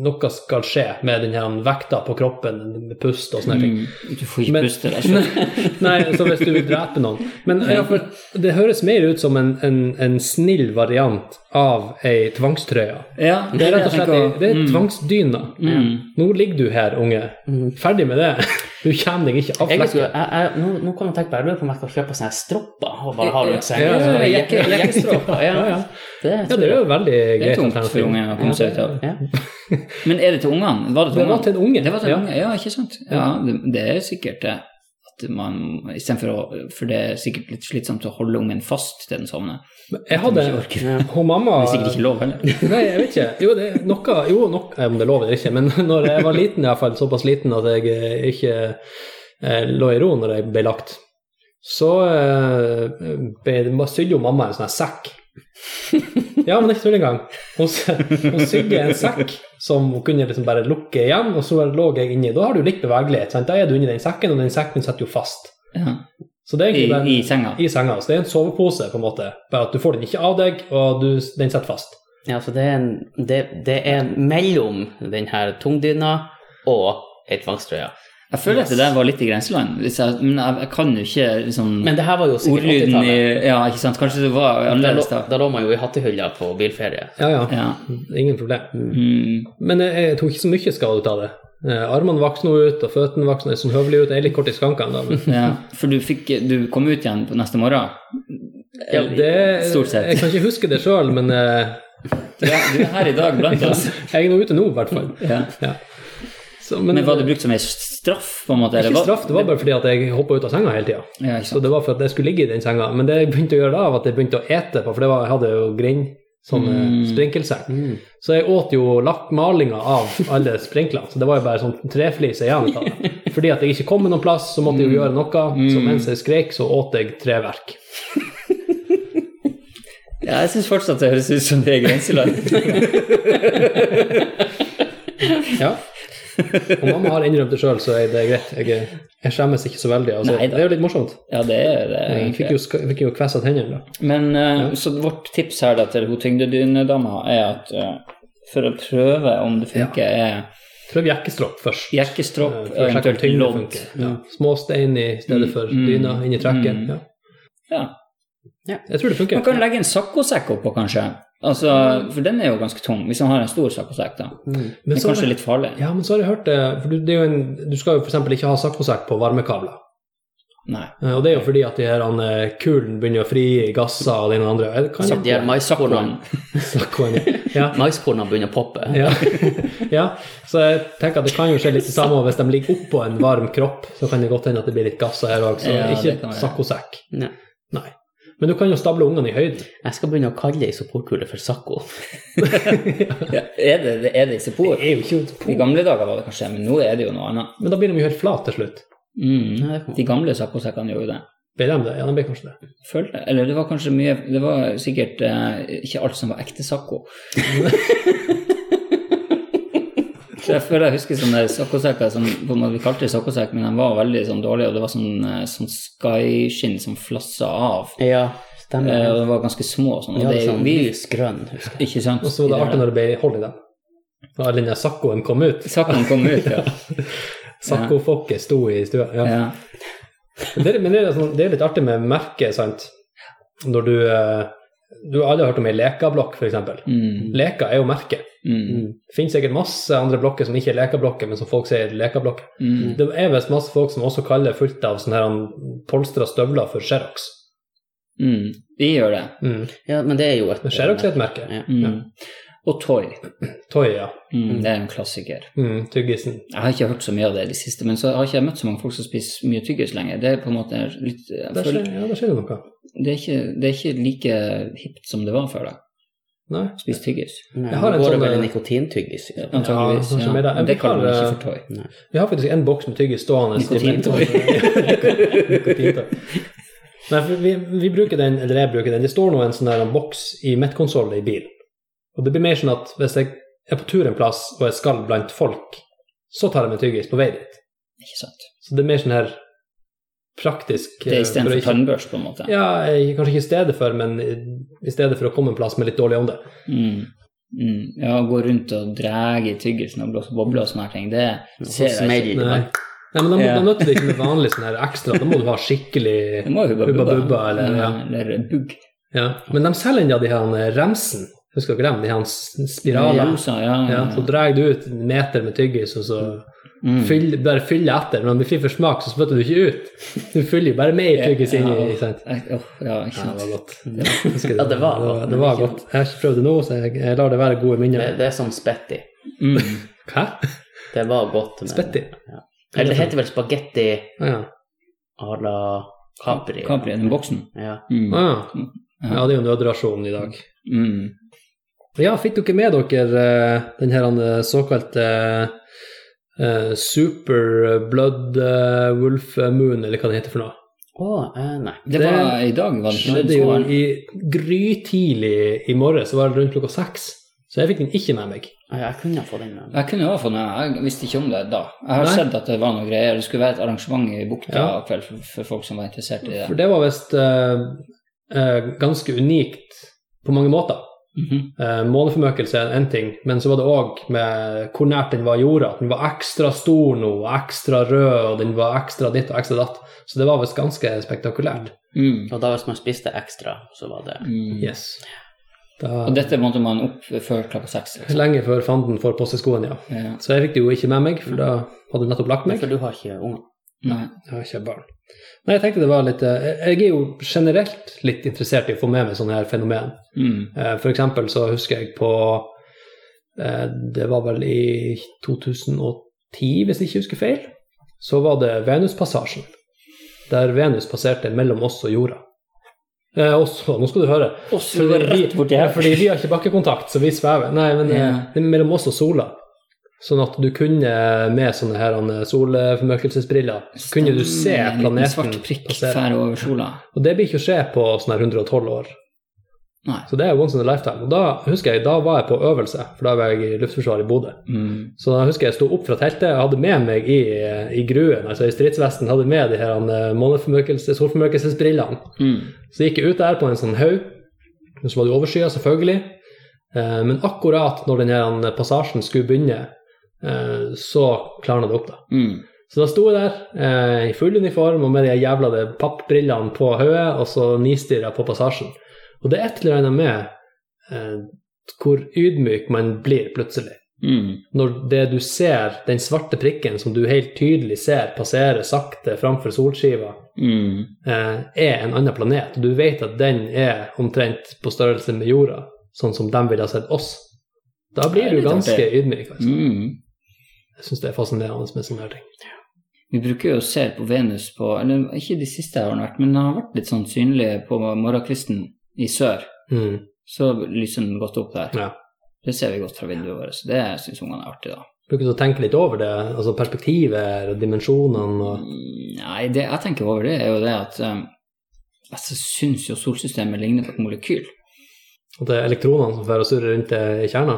noe skal skje med den her vekta på kroppen, med pust og sånne ting.
Mm. Du får ikke
Men-
puste deg sjøl.
Nei, så hvis du vil drepe noen. Men ja, for det høres mer ut som en, en, en snill variant av ei tvangstrøye.
Ja,
Det er rett og
jeg
slett
tenker
det er
å-
tvangsdyna.
Mm.
Nå ligger du her, unge. Ferdig med det. Du kommer deg ikke av
Jeg
flekken.
skulle, jeg, jeg, nå, nå kan jeg tenke på jeg lurer på om jeg skal kjøpe sånne stropper og bare ha rundt senga.
Ja, ja,
Sånne
ja,
jekke- jekkestropper, ja. Det
Ja, det er jo veldig
Det er
greit
tungt for
alternativ.
ungene å komme seg ut av.
Ja.
Men er det til ungene? Var det til
Det var
ungene?
til en unge.
Det var til
ja.
ungene, ja, ikke sant? Ja, det, det er sikkert det. at man istedenfor å For det er sikkert litt slitsomt å holde ungen fast til den sovner.
Men Jeg hadde
Ikke orker.
Ja.
Hun mamma
Det er sikkert ikke lov heller.
Nei, jeg vet ikke. Jo, det er noe, jo nok, eh, om det er lov eller ikke, men når jeg var liten, i hvert fall såpass liten at jeg eh, ikke eh, lå i ro når jeg ble lagt, så eh, ble- sydde jo mamma en sånn her sekk. Ja, men det er ikke tull engang. Hun, s- hun sydde en sekk som hun kunne liksom bare lukke igjen, og så lå jeg inni. Da har du litt bevegelighet. Sant? Da er du inni den sekken, og den sekken sitter jo fast.
Ja.
Så det er
I,
egentlig bare
I senga.
i senga. Så det er en sovepose, på en måte. Bare at du får den ikke av deg, og du, den sitter fast.
Ja, så det er, en, det, det er mellom den her tungdyna og ei tvangstrøye.
Jeg føler at det der var litt i grenseland. Hvis jeg, men jeg, jeg kan jo ikke liksom
Men det her var jo sikkert
Ordlyden i
80-tallet.
Ja, ikke sant. Kanskje det var
Da,
annerledes
lå-
da.
da lå man jo i hattehylla på bilferie.
Ja, ja.
Ja.
Ingen problem.
Mm.
Men jeg, jeg tok ikke så mye skade ut av det. Eh, Armene vokste nå ut, og føttene vokste nå sånn høvelig ut. Jeg er litt kort i skankene, da. Men
ja. For du fikk Du kom ut igjen på neste morgen?
det,
Stort sett.
Jeg kan ikke huske det sjøl, men eh,
Du er, du er her i dag blant oss.
jeg er nå ute nå, i hvert fall.
Ja.
Ja. Så,
Men var det brukt som en straff, på en måte?
ikke straff, det var bare fordi at jeg hoppa ut av senga hele tida.
Ja, ikke
Så
sant.
det var for at jeg skulle ligge i den senga. Men det jeg begynte å gjøre da, var at jeg begynte å ete på, for det var, jeg hadde jo grind som mm. sprinkelseng. Så jeg åt jo lakkmalinga av alle sprinklene. Så det var jo bare sånn treflis igjen. av det. Fordi at jeg ikke kom med noen plass, så måtte jeg jo gjøre noe. Så mens jeg skrek, så åt jeg treverk.
Ja, jeg syns fortsatt det høres ut som det er grenseland.
Ja. Og mamma har innrømt det sjøl, så jeg, det er greit. Jeg, eh, jeg skjemmes ikke så veldig. Altså,
Neida.
det er jo litt morsomt.
Ja, det er det.
Jeg
egentlig.
fikk jo, sk- jeg fikk jo kvessa tennene, da.
Men eh, så vårt tips her da, til hun tyngdedynedama er at eh, for å prøve om det funker,
Prøv jekkestropp først.
er jekkestropp,
For å sjekke om
eventuelt
tyngden
lodd.
funker. Ja. Småstein i stedet for
Mm, mm,
dyna inni trekket.
mm.
Ja.
Ja.
Jeg tror det funker.
Man kan legge en saccosekk oppå, kanskje. Altså, for den er jo ganske tung, hvis man har en stor saccosekk, da.
Men
Det er
så,
kanskje litt farlig.
ja, men så har jeg hørt det, for du, det er jo en, du skal jo f.eks. ikke ha saccosekk på varmekabler.
Nei.
Eh, Og det er jo fordi at de her eh, kulene begynner å frigi gasser og det ene og det andre. Jeg kan
De her maiskornene
Saccoen.
saccoen, ja.
maiskornene begynner å poppe.
Ja. ja, så jeg tenker at det kan jo skje litt det samme og hvis de ligger oppå en varm kropp, så kan det godt hende at det blir litt gasser her òg, så
Ja, det kan
ikke
være.
saccosekk.
Nei.
Nei. Men du kan jo stable ungene i høyden.
Jeg skal begynne å kalle ei soporkule for sakko.
Ja, er det, er det isopor?
Det er jo ikke
I gamle dager var det kanskje, men nå er det jo noe annet.
Men da blir de jo helt flate til slutt.
Mm.
Ja, det kan-
De gamle saccosekkene gjorde jo det.
Blir de det? Ja, de blir kanskje det.
Følte, eller det var kanskje mye Det var sikkert eh, ikke alt som var ekte sacco. Så jeg føler jeg husker sånne saccosekker som på en måte, Vi kalte det saccosekk, men de var veldig sånn dårlige, og det var sånn, eh, sånn skyskinn som flassa av.
Ja,
Eh,
stemmer.
og de var ganske små og sånn.
Ja,
Og
det
det
er
er jo
sånn
vi
lys grønn. husker jeg.
Ikke sant?
Og så var det artig når det ble hold i dem. Da all den saccoen kom ut.
Saccoen kom ut, ja.
Saccofolket sto i stua. Ja.
ja.
Men Det, er- men det er, sånn, det er litt artig med merket, sant. Når du eh, Du har aldri hørt om ei lekablokk, f.eks.
Mm,
Leka er jo merket.
mm,
Det finnes sikkert masse andre blokker som ikke er lekablokker, men som folk sier lekablokker.
mm.
Det er visst masse folk som også kaller fullt av sånne her um, polstra støvler for Xerox.
Mm. Vi gjør det.
Mm.
Ja, men det er jo et
Men Xerox er et merke.
Ja.
Mm. Og toy.
Toy, ja.
Mm, det er en klassiker.
Mm, tyggisen.
Jeg har ikke hørt så mye av det i det siste, men så har ikke jeg møtt så mange folk som spiser mye tyggis lenger. Det er på en måte litt jeg
Der skjer,
føler,
ja, der skjer det noe.
det, er ikke, det er ikke like hipt som det var før, da.
Nei.
Spise tyggis.
Nei,
Jeg har
nå
en
går det
sånn,
vel
eh,
en nikotintyggis i det.
Antakeligvis.
kanskje
Ja,
mer sånn da.
Men det
Vi
kaller man
har,
ikke for toy.
Nei.
Vi har faktisk en boks med tyggis stående.
Nikotintøy.
Nikotintøy. Nei, for vi, vi bruker den, eller jeg bruker den. Det står nå en sånn der boks i midtkonsollen i bil. Og det blir mer sånn at hvis jeg er på tur en plass og jeg skal blant folk, så tar jeg meg tyggis på vei dit.
Ikke sant.
Så det er mer sånn her praktisk eh, for
Det er
å
istedenfor
ikke-
tannbørs, på en måte.
Ja, jeg- kanskje ikke i stedet for, men i i stedet for å komme en plass med litt dårlig ånde.
Mm. Mm. Ja, å gå rundt og dra i tyggisen og blåse bobler og sånne her ting, det
Så
ser
sånn
jeg ikke.
smeller det.
Nei. Nei, men da, må,
Ja.
da nytter det ikke med vanlig sånn her ekstra. Da må du ha skikkelig
Det må jo hubba
Hubba
bubba.
bubba, eller- ja.
eller bugg.
Ja, men de selger ennå de her eh, remsen. Husker dere dem? De her s- spiralene.
Rosa, ja.
Ja, sånn-
ja.
så drar du ut en meter med tyggis, og så
Mm.
fyll, bare fyller etter. Når den blir fri for smak, så spytter du ikke ut. Du fyller jo bare mer tyggis inn i. sant?
Eh, åh,
Ja,
ja, ikke
det
sant.
var godt. Husker
Ja, det var
det
godt,
var,
men
det var
ikke-
godt. Jeg har ikke prøvd det nå, så jeg, jeg lar det være gode
Det,
minner.
det er som spetti.
Mm.
Hæ?
Det var godt. men-
Spetti?
Eller det heter vel spagetti
Ja.
à la Capri.
Capri, den boksen.
Ja.
Å
Mm.
ja. ja, det er jo nødrasjonen i dag.
Mm.
Ja, fikk dere med dere eh, den her eh, såkalte eh, Super Blood eh, Wolf Moon, eller hva det heter for noe?
Å, eh, nei.
Det
Det
var i dag, var det ikke?
skjedde jo
Sommeren.
i grytidlig i morges, det var rundt klokka seks. Så jeg fikk den ikke med meg.
Ja, Jeg kunne få den med.
Jeg kunne jo ha fått med meg, jeg visste ikke om det da. Jeg har
Nei.
sett at det var noe greier. Det skulle være et arrangement i Bukta
Ja.
i kveld for, for folk som var interessert i det.
For det var visst eh, eh, ganske unikt på mange måter.
Mhm.
Eh, måneformøkelse er én ting, men så var det òg med hvor nært den var jorda. At den var ekstra stor nå, og ekstra rød, og den var ekstra ditt og ekstra datt. Så det var visst ganske spektakulært.
mm.
Og da hvis man spiste ekstra, så var det
Mm.
Yes. Da,
Og dette måtte man opp før klokka seks. Liksom.
lenge før fanden får på seg skoene, ja.
Ja.
Så jeg fikk det jo ikke med meg, for da hadde jeg nettopp lagt meg.
For du har ikke unger.
Nei.
Jeg har ikke barn. Nei, jeg tenkte det var litt eh, Jeg er jo generelt litt interessert i å få med meg sånne her fenomen.
Mm.
Eh, For eksempel så husker jeg på eh, Det var vel i 2010, hvis jeg ikke husker feil, så var det Venuspassasjen. Der Venus passerte mellom oss og jorda. Eh, også, nå skal du høre.
Så det var rett borti
Ja,
her.
fordi vi har ikke bakkekontakt, så vi svever. Nei, men eh,
Ja.
det er mellom oss og sola. Sånn at du kunne med sånne her eh, solformørkelsesbriller så kunne du se
Stemmer, En liten
planeten
svart prikk
passere.
fær over sola.
Og det blir ikke å skje på sånne her 112 år.
Nei.
Så det er once in a lifetime. Og da husker jeg, da var jeg på øvelse, for da var jeg i Luftforsvaret i Bodø.
Mm.
Så da husker jeg jeg sto opp fra teltet, jeg hadde med meg i, i gruen, altså i stridsvesten, hadde med de her eh, måneformørkelses- solformørkelsesbrillene.
Mm.
Så gikk jeg ut der på en sånn haug, og så var det overskya, selvfølgelig. Eh, Men akkurat når den her eh, passasjen skulle begynne, eh, så klarna det opp, da.
Mm.
Så da sto jeg der eh, i full uniform og med de jævla de pappbrillene på hodet, og så nistirra på passasjen. Og det er et eller annet med eh, hvor ydmyk man blir plutselig.
Mm.
Når det du ser, den svarte prikken som du helt tydelig ser passere sakte framfor solskiva,
Mm.
eh, er en annen planet. Du vet at den er omtrent på størrelse med jorda, sånn som de ville ha sett oss. Da
Det
blir
er
du
litt
ganske
artig.
ydmyk. Altså.
Mm.
Jeg syns det er fascinerende med sånne her ting.
Vi bruker jo å se på Venus på Eller ikke de siste jeg har vært, men den har vært litt sånn synlig på morgenkvisten i sør.
Mm.
Så lyser den godt opp der.
Ja.
Det ser vi godt fra vinduet vårt, så det syns ungene er artig, da.
Bruker du å tenke litt over det? Altså perspektiver og dimensjonene og
Mm, Nei, det jeg tenker over det, er jo det at um, jeg syns jo solsystemet ligner på et molekyl.
at det er elektronene som fører og surrer rundt i kjerna?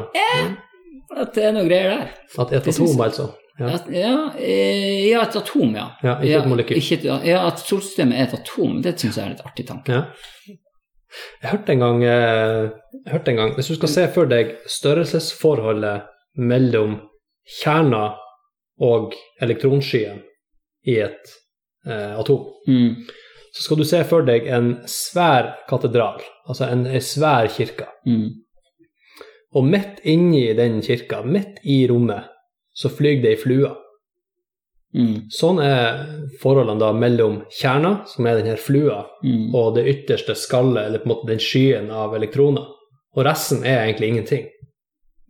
At det er noe greier der.
At et
Det synes
atom,
jeg.
altså. Ja.
At, ja, eh, ja, et atom, ja.
Ja, ikke et molekyl.
ikke et- ja, at solsystemet er et atom, det syns jeg er en litt artig tanke.
Ja. Jeg hørte en gang, eh, jeg hørte en gang Hvis du skal se for deg størrelsesforholdet mellom kjerna og elektronskyen i et eh, atom,
Mm,
så skal du se for deg en svær katedral, altså en, en svær kirke.
mm,
Og midt inni den kirka, midt i rommet, så flyr det ei flue.
mm,
Sånn er forholdene da mellom kjerna, som er den her flua,
mm.
og det ytterste skallet, eller på en måte den skyen av elektroner. Og resten er egentlig ingenting.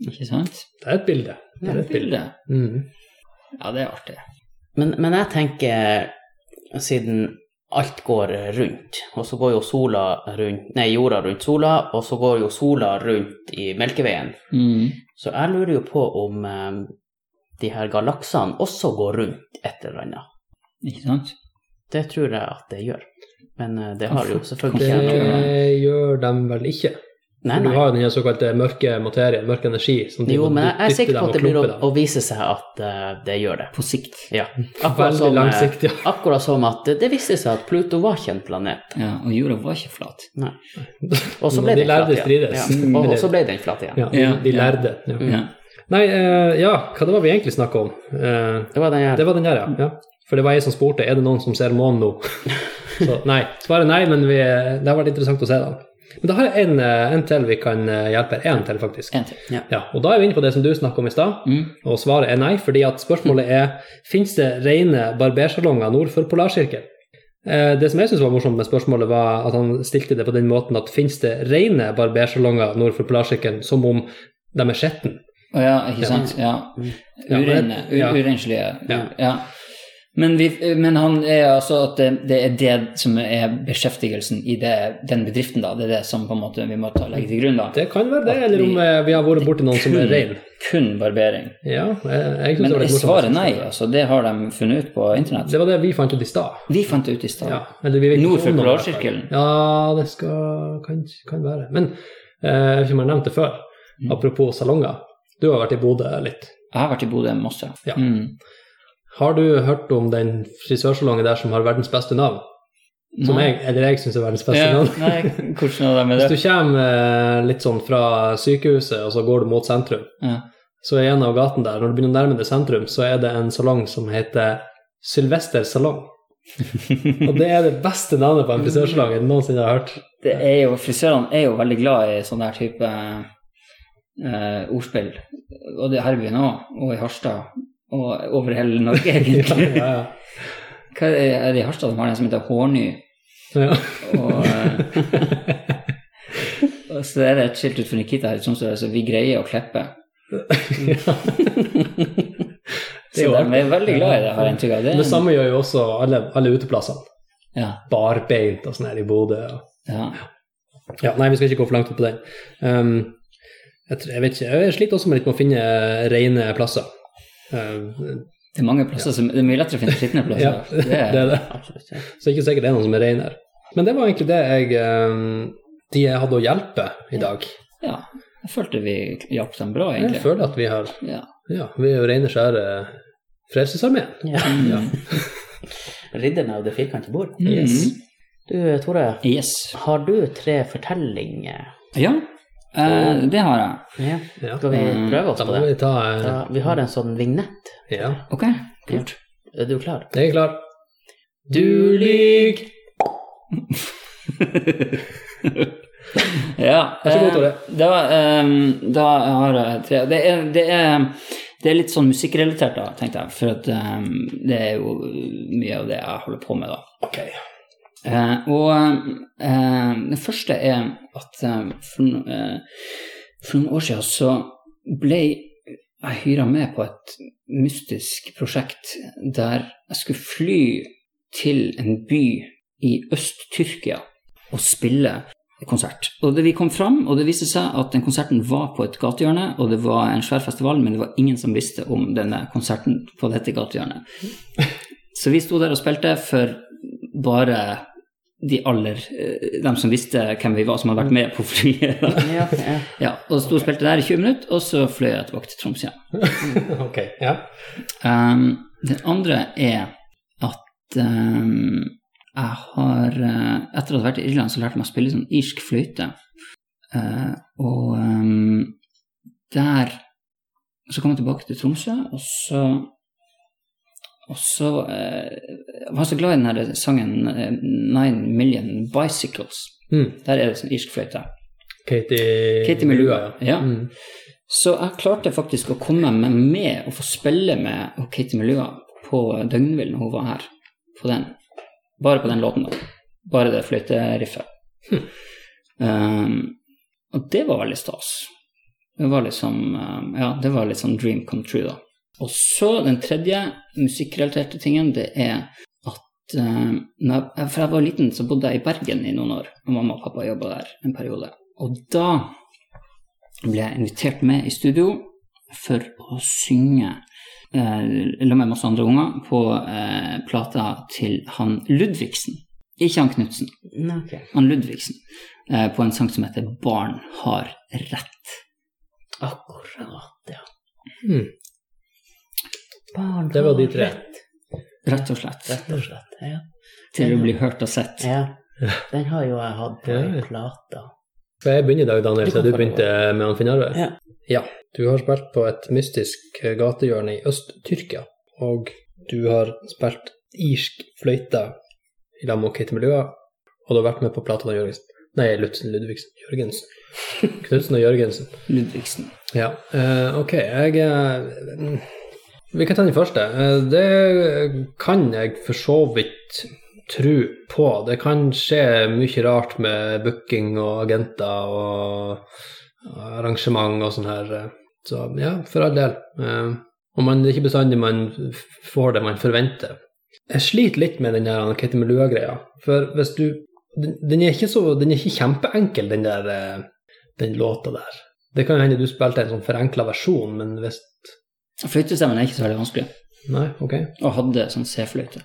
Ikke sant?
Det er et bilde. Det er et bilde.
Bildet.
Mm.
Ja, det er artig.
Men, men jeg tenker, siden alt går rundt, og så går jo sola rundt, nei, jorda rundt sola, og så går jo sola rundt i Melkeveien,
Mm.
så jeg lurer jo på om eh, de her galaksene også går rundt et eller annet.
Ikke sant?
Det tror jeg at det gjør. Men eh, det har jo selvfølgelig ikke jeg noe med.
Ah, Det gjør de vel ikke.
Nei,
For du
nei.
har jo den her såkalte mørke materie, mørk energi, som de
Jo, men jeg jeg er
dytter
sikker
dem
på
og
at det blir å,
klumper dem.
å vise seg at eh, det gjør det.
På sikt.
Ja. Akkurat
Veldig
som, eh,
langsiktig, ja.
akkurat som at det- det viste seg at Pluto var ikke en planet.
Ja, og jorda var ikke flat.
Nei. Og så ble den
De
flat
lærde
igjen.
strides. Mm,
Ja. Og, og så ble den flat igjen.
Ja, de,
Ja,
de
ja.
lærde. Ja.
Mm.
Ja.
Nei, eh, ja, hva det var vi egentlig snakka om? Eh,
Det var den
Det
her.
var den her, ja. ja. For det var jeg som spurte er det noen som ser månen nå. Så nei, svaret er nei, men vi, det har vært interessant å se den. Men da har jeg en, eh, en til vi kan eh, hjelpe. En til, faktisk.
En til.
Ja, og da er vi inne på det som du snakket om i stad,
Mm.
og svaret er nei. fordi at spørsmålet er finnes det rene barbersalonger nord for Polarsirkelen. Eh, Det som jeg synes var morsomt med spørsmålet, var at han stilte det på den måten at finnes det rene barbersalonger nord for Polarsirkelen, som om de er skitne?
Å ja, ikke sant? Ja.
Mm.
Ja, men-
Ureine, u-
ja.
urenslige.
Ja.
Ja. Men, vi, men han er altså at det, det er det som er beskjeftigelsen i det, den bedriften, da. Det er det som på en måte vi må ta, legge til grunn, da.
Det kan være det, eller om eh, vi har vært borti noen som er rein.
Kun barbering.
Ja, jeg, jeg synes
Men
det var litt
svaret
morsomt.
nei, altså. Det har de funnet ut på internett.
Det var det vi fant ut i stad.
Vi fant det ut i stad.
Ja, eller vi vet ikke
Nord for
om noe, i hvert fall.
polarsirkelen.
Ja, det skal, kan, kan være. Men eh, jeg vet ikke om jeg har nevnt det før,
Mm.
apropos salonger. Du har vært i Bodø litt.
Jeg har vært i Bodø masse.
Ja.
Mm.
Har du hørt om den frisørsalongen der som har verdens beste navn? Som
Nei.
jeg, eller jeg syns er verdens beste
Mm. Ja,
navn.
nei, hvordan er det med
Hvis
det?
du kommer eh, litt sånn fra sykehuset, og så går du mot sentrum,
Ja.
så er en av gaten der, når du begynner å nærme deg sentrum, så er det en salong som heter Sylvester Salong. og det er det beste navnet på en frisørsalong jeg noensinne har hørt.
det er jo, frisørene er jo veldig glad i sånn der type eh, ordspill. Og det er Herbyen òg, og i Harstad. Og over hele Norge, egentlig.
Ja,
Hva er, er det i Harstad som har den som heter Hårny?
ja. ja.
Og, eh, og så er det et skilt utenfor Nikita her i Tromsø der det står 'Vi greier å klippe'.
er
Så
jo
de
artig.
er veldig glad i det, har jeg inntrykk av. Det, er
Det
en-
samme gjør jo også alle, alle uteplassene.
Ja,
Barbeint og sånn her i Bodø. og-
ja.
Ja, nei, vi skal ikke gå for langt ut på den. Ehm, jeg, tror- jeg vet ikke, jeg sliter også med litt med å finne eh, rene plasser. Ehm,
Det er mange plasser som Det er mye lettere å finne skitne plasser.
ja, det
Det er-
er det.
Absolutt. ja.
Så ikke sikkert det er noen som er rein her. Men det var egentlig det jeg ehm, de jeg hadde å hjelpe i dag.
Ja. Jeg følte vi hjalp dem bra,
Jeg
egentlig.
føler at vi har
Ja.
Ja, vi er jo rene, skjære Frelsesarmeen.
Ja. Ridderne av det firkantede bord.
Yes.
Du, Tore,
Mm. Yes.
har du tre fortellinger?
Ja, eh, det har jeg.
Ja.
Ja.
Skal vi prøve oss
Mm. Da
på
må vi
det?
ta eh,
Ja, vi har en sånn vignett.
Ja,
Ok, kult.
Er du klar?
jeg er klar.
Du lyg!
Ja.
Vær så god,
eh,
Tore.
Da, eh, da har jeg tre det er, det er, det er litt sånn musikkrelatert, da, tenkte jeg. For at, eh, det er jo mye av det jeg holder på med, da.
Ok.
Eh, og eh, det første er at eh, for, no- eh, for noen år siden så ble jeg hyra med på et mystisk prosjekt der jeg skulle fly til en by i Øst-Tyrkia og spille konsert. Og det vi kom fram, og det viste seg at den konserten var på et gatehjørne, og det var en svær festival, men det var ingen som visste om denne konserten på dette gatehjørnet. Så vi sto der og spilte for bare de aller eh, De som visste hvem vi var, som hadde vært med på flyet. da.
Ja, ja.
Ja, og sto og spilte der i 20 minutter, og så fløy jeg tilbake til Troms igjen.
Ok, ja.
Ehm, den andre er at ehm, jeg har eh, Etter å ha vært i Irland, så lærte jeg meg å spille sånn irsk fløyte. Eh, og ehm, der Så kom jeg tilbake til Tromsø, og så Og så eh, Jeg var så glad i den her sangen eh, Nine Million Bicycles.
Mm.
Der er det sånn irsk fløyte.
Katie,
Katie med lua, ja.
Mm.
Så jeg klarte faktisk å komme meg med og få spille med og Katie Melua på Døgnvill når hun var her. På den. Bare på den låten, da. Bare det fløyteriffet. Um, og det var veldig stas. Det var liksom um, Ja, det var litt sånn dream come true, da. Og så den tredje musikkrelaterte tingen, det er at um, når jeg, For jeg var liten, så bodde jeg i Bergen i noen år, og mamma og pappa jobba der en periode. Og da ble jeg invitert med i studio for å synge eh, la meg masse andre unger på eh, plata til han Ludvigsen. Ikke han Knutsen,
Nei, ok.
han Ludvigsen. Eh, på en sang som heter 'Barn har rett'.
Akkurat, ja.
Mm.
Barn
Det var de
har
tre.
Rett,
Rett og slett.
rett og slett. Ja.
Til å bli hørt og sett.
ja. Den har jo jeg hatt på
Ja.
ei plate.
Skal jeg begynne i dag, Daniel,
Du
siden
kan
du
få
begynte med han Finn Arve?
Ja.
Du har spilt på et mystisk gatehjørne i Øst-Tyrkia, og du har spilt irsk fløyte i lag med Katie Melua, og du har vært med på Platon og Jørgensen. Nei, Lutzen, Ludvigsen, Jørgensen. Knutsen og Jørgensen.
Ludvigsen.
Ja, eh, ok, jeg eh, Vi kan ta den første. Eh, det kan jeg for så vidt tro på. Det kan skje mye rart med booking og agenter og arrangement og sånn her. eh. Så ja, for all del. Eh, og man, det er ikke bestandig man f- får det man forventer. Jeg sliter litt med den her kettemilø-greia. For hvis du den, den, er ikke så, den er ikke kjempeenkel, den der eh, den låta der. Det kan jo hende du spilte en sånn forenkla versjon, men hvis
Fløytestemmen er ikke så veldig vanskelig,
Nei, ok.
og hadde sånn C-fløyte.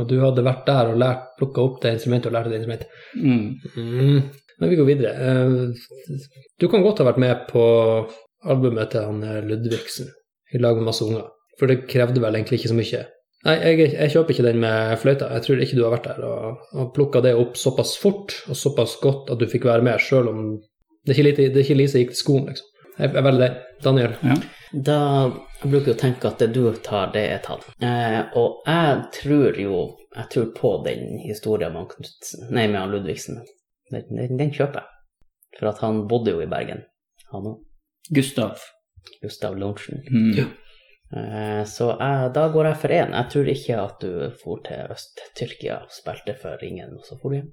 Og du hadde vært der og lært, plukka opp det instrumentet og lært det instrumentet.
Mm.
Mm. Men vi går videre. Eh, Du kan godt ha vært med på albumet til han eh, Ludvigsen i lag med masse unger, for det krevde vel egentlig ikke så mye. Nei, jeg, jeg kjøper ikke den med fløyta. Jeg tror ikke du har vært der og, og plukka det opp såpass fort og såpass godt at du fikk være med, sjøl om det er ikke, lite, det er ikke Lise gikk til skolen, liksom. Jeg, jeg velger den. Daniel.
Da bruker jeg å tenke at det du tar, det er tatt. Eh, og jeg tror jo Jeg tror på den historien med, han Knudsen- nei, med han Ludvigsen. Den, den, den kjøper jeg. For at han bodde jo i Bergen, han òg.
Gustav.
Gustav Lorentzen.
Mm.
Eh, så jeg, da går jeg for én. Jeg tror ikke at du for til Øst-Tyrkia og spilte for ingen, og så for du hjem.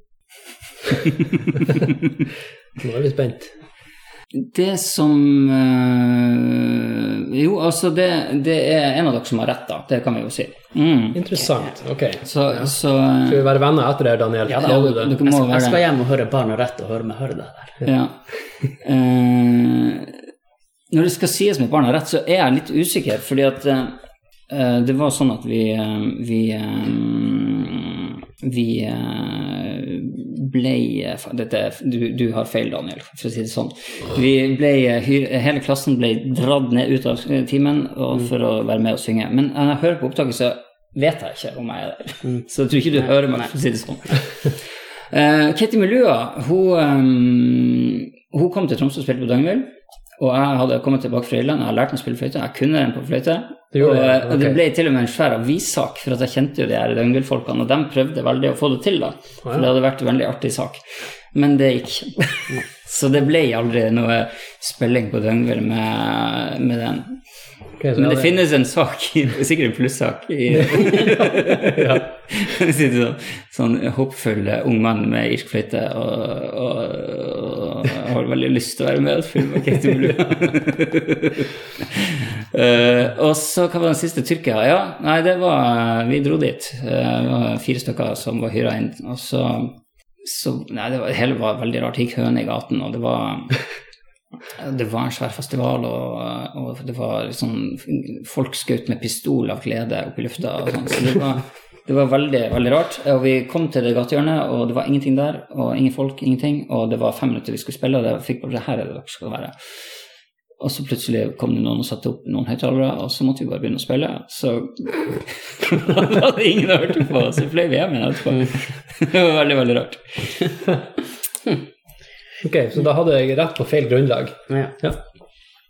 Nå er vi spent.
Det som eh, Jo, altså, det, det er en av dere som har rett, da. Det kan vi jo si. Mm.
Interessant. Ok.
Så, så eh,
Skal vi være venner etter det her, Daniel?
Ja da,
Lover du det?
dere må
Jeg,
jo
jeg
være
skal hjem og høre Barna Rett og høre meg høre det der.
Ja. Eh, når det skal sies med barna rett, så er jeg litt usikker, fordi at eh, det var sånn at vi eh, Vi, eh, vi eh, ble eh, fa- Dette, er- du, du har feil, Daniel, for å si det sånn. Vi ble, eh, hyr, hele klassen ble dratt ned ut av eh, timen og, for å være med og synge. Men når jeg hører på opptaket, så vet jeg ikke om jeg er der.
Mm.
Så jeg tror ikke du hører meg, for å si det sånn. Eh, Katie Melua, hun, ehm, hun kom til Tromsø og spilte på Dagvill. Og jeg hadde kommet tilbake fra Irland, jeg hadde lært meg å spille fløyte. Jeg kunne den på fløyte.
Du
og,
gjorde det,
og det
ok.
ble til og med en svær avissak, for at jeg kjente jo de her Dagvill-folkene, og de prøvde veldig å få det til, da. For det hadde vært en veldig artig sak. Men det gikk ikke. så det ble aldri noe spilling på Dagvill med, med den.
Ok, så
Men
ja,
det finnes en sak, i- sikkert en plussak, i
ja.
Sitter sånn, sånn hoppfull eh, ung mann med irsk fløyte og, og, og, og har veldig lyst til å være med og filme Kate Blue. Eh, og så hva var den siste Tyrkia? Ja, nei, det var Vi dro dit. Eh, det var fire stykker som var hyra inn. Og så, så Nei, det var, det hele var veldig rart. Det gikk høne i gaten, og det var det var en svær festival, og, og det var liksom folk skjøt med pistol av glede opp i lufta. og sånn, Så det var, det var veldig, veldig rart. Og vi kom til det gatehjørnet, og det var ingenting der. Og ingen folk, ingenting. Og det var fem minutter vi skulle spille, og det fikk bare her er det dere skal være. Og så plutselig kom det noen og satte opp noen høyttalere, og så måtte vi bare begynne å spille. Så da hadde ingen hørt på, og så fløy vi hjem igjen etterpå. Det var veldig, veldig rart.
ok, så da hadde jeg rett på feil grunnlag,
Ja,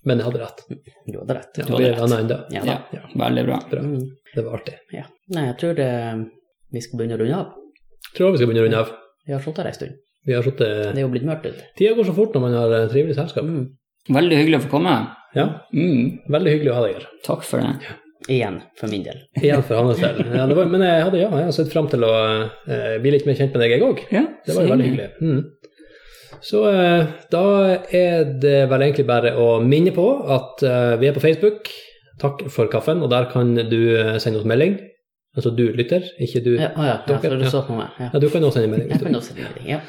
men jeg hadde rett.
du hadde rett.
Vi er venner ennå.
Ja, da.
Ja, veldig bra.
Bra.
Mm.
Det var artig.
Ja. Nei, jeg tror det, vi skal begynne å runde av.
Tror vi skal begynne å runde av.
Vi har sittet her ei stund.
Vi har
Det
sittet
er jo blitt mørkt ute.
Tida går så fort når man har eh, trivelig selskap.
Mm.
Veldig hyggelig å få komme.
Ja,
Mm,
veldig hyggelig å ha deg her.
takk for det.
Igjen, for min del.
Igjen for hans del. Ja, det var, men jeg hadde ja, jeg har sett fram til å eh, bli litt mer kjent med deg, jeg òg.
Ja,
Det var jo veldig hyggelig. Mm. Så eh, da er det vel egentlig bare å minne på at eh, vi er på Facebook. Takk for kaffen, og der kan du eh, sende oss melding. Altså du lytter, ikke du.
Ja,
Ja,
å ja, ja, for du
Dere-
så på meg. Ja.
du kan også sende melding.
Jeg
hvis du
kan
vil.
også si det. Ja.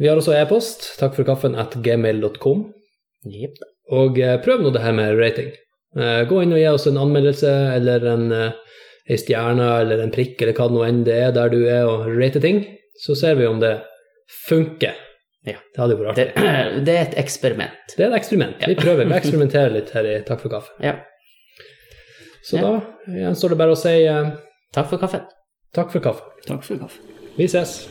Vi har også e-post, takk for kaffen at gmail.com.
Jepp.
Og eh, prøv nå det her med rating. Eh, Gå inn og gi oss en anmeldelse eller en, eh, ei stjerne eller en prikk eller hva det nå enn det er der du er og rate ting, så ser vi om det funker.
Ja.
Det hadde jo vært artig.
Det, det er et eksperiment.
Det er et eksperiment. Vi prøver. Vi eksperimenterer litt her i Takk for kaffe.
Ja.
Så
Ja.
da gjenstår det bare å si eh,
Takk for kaffen.
takk for kaffe.
Takk for kaffe.
Vi ses.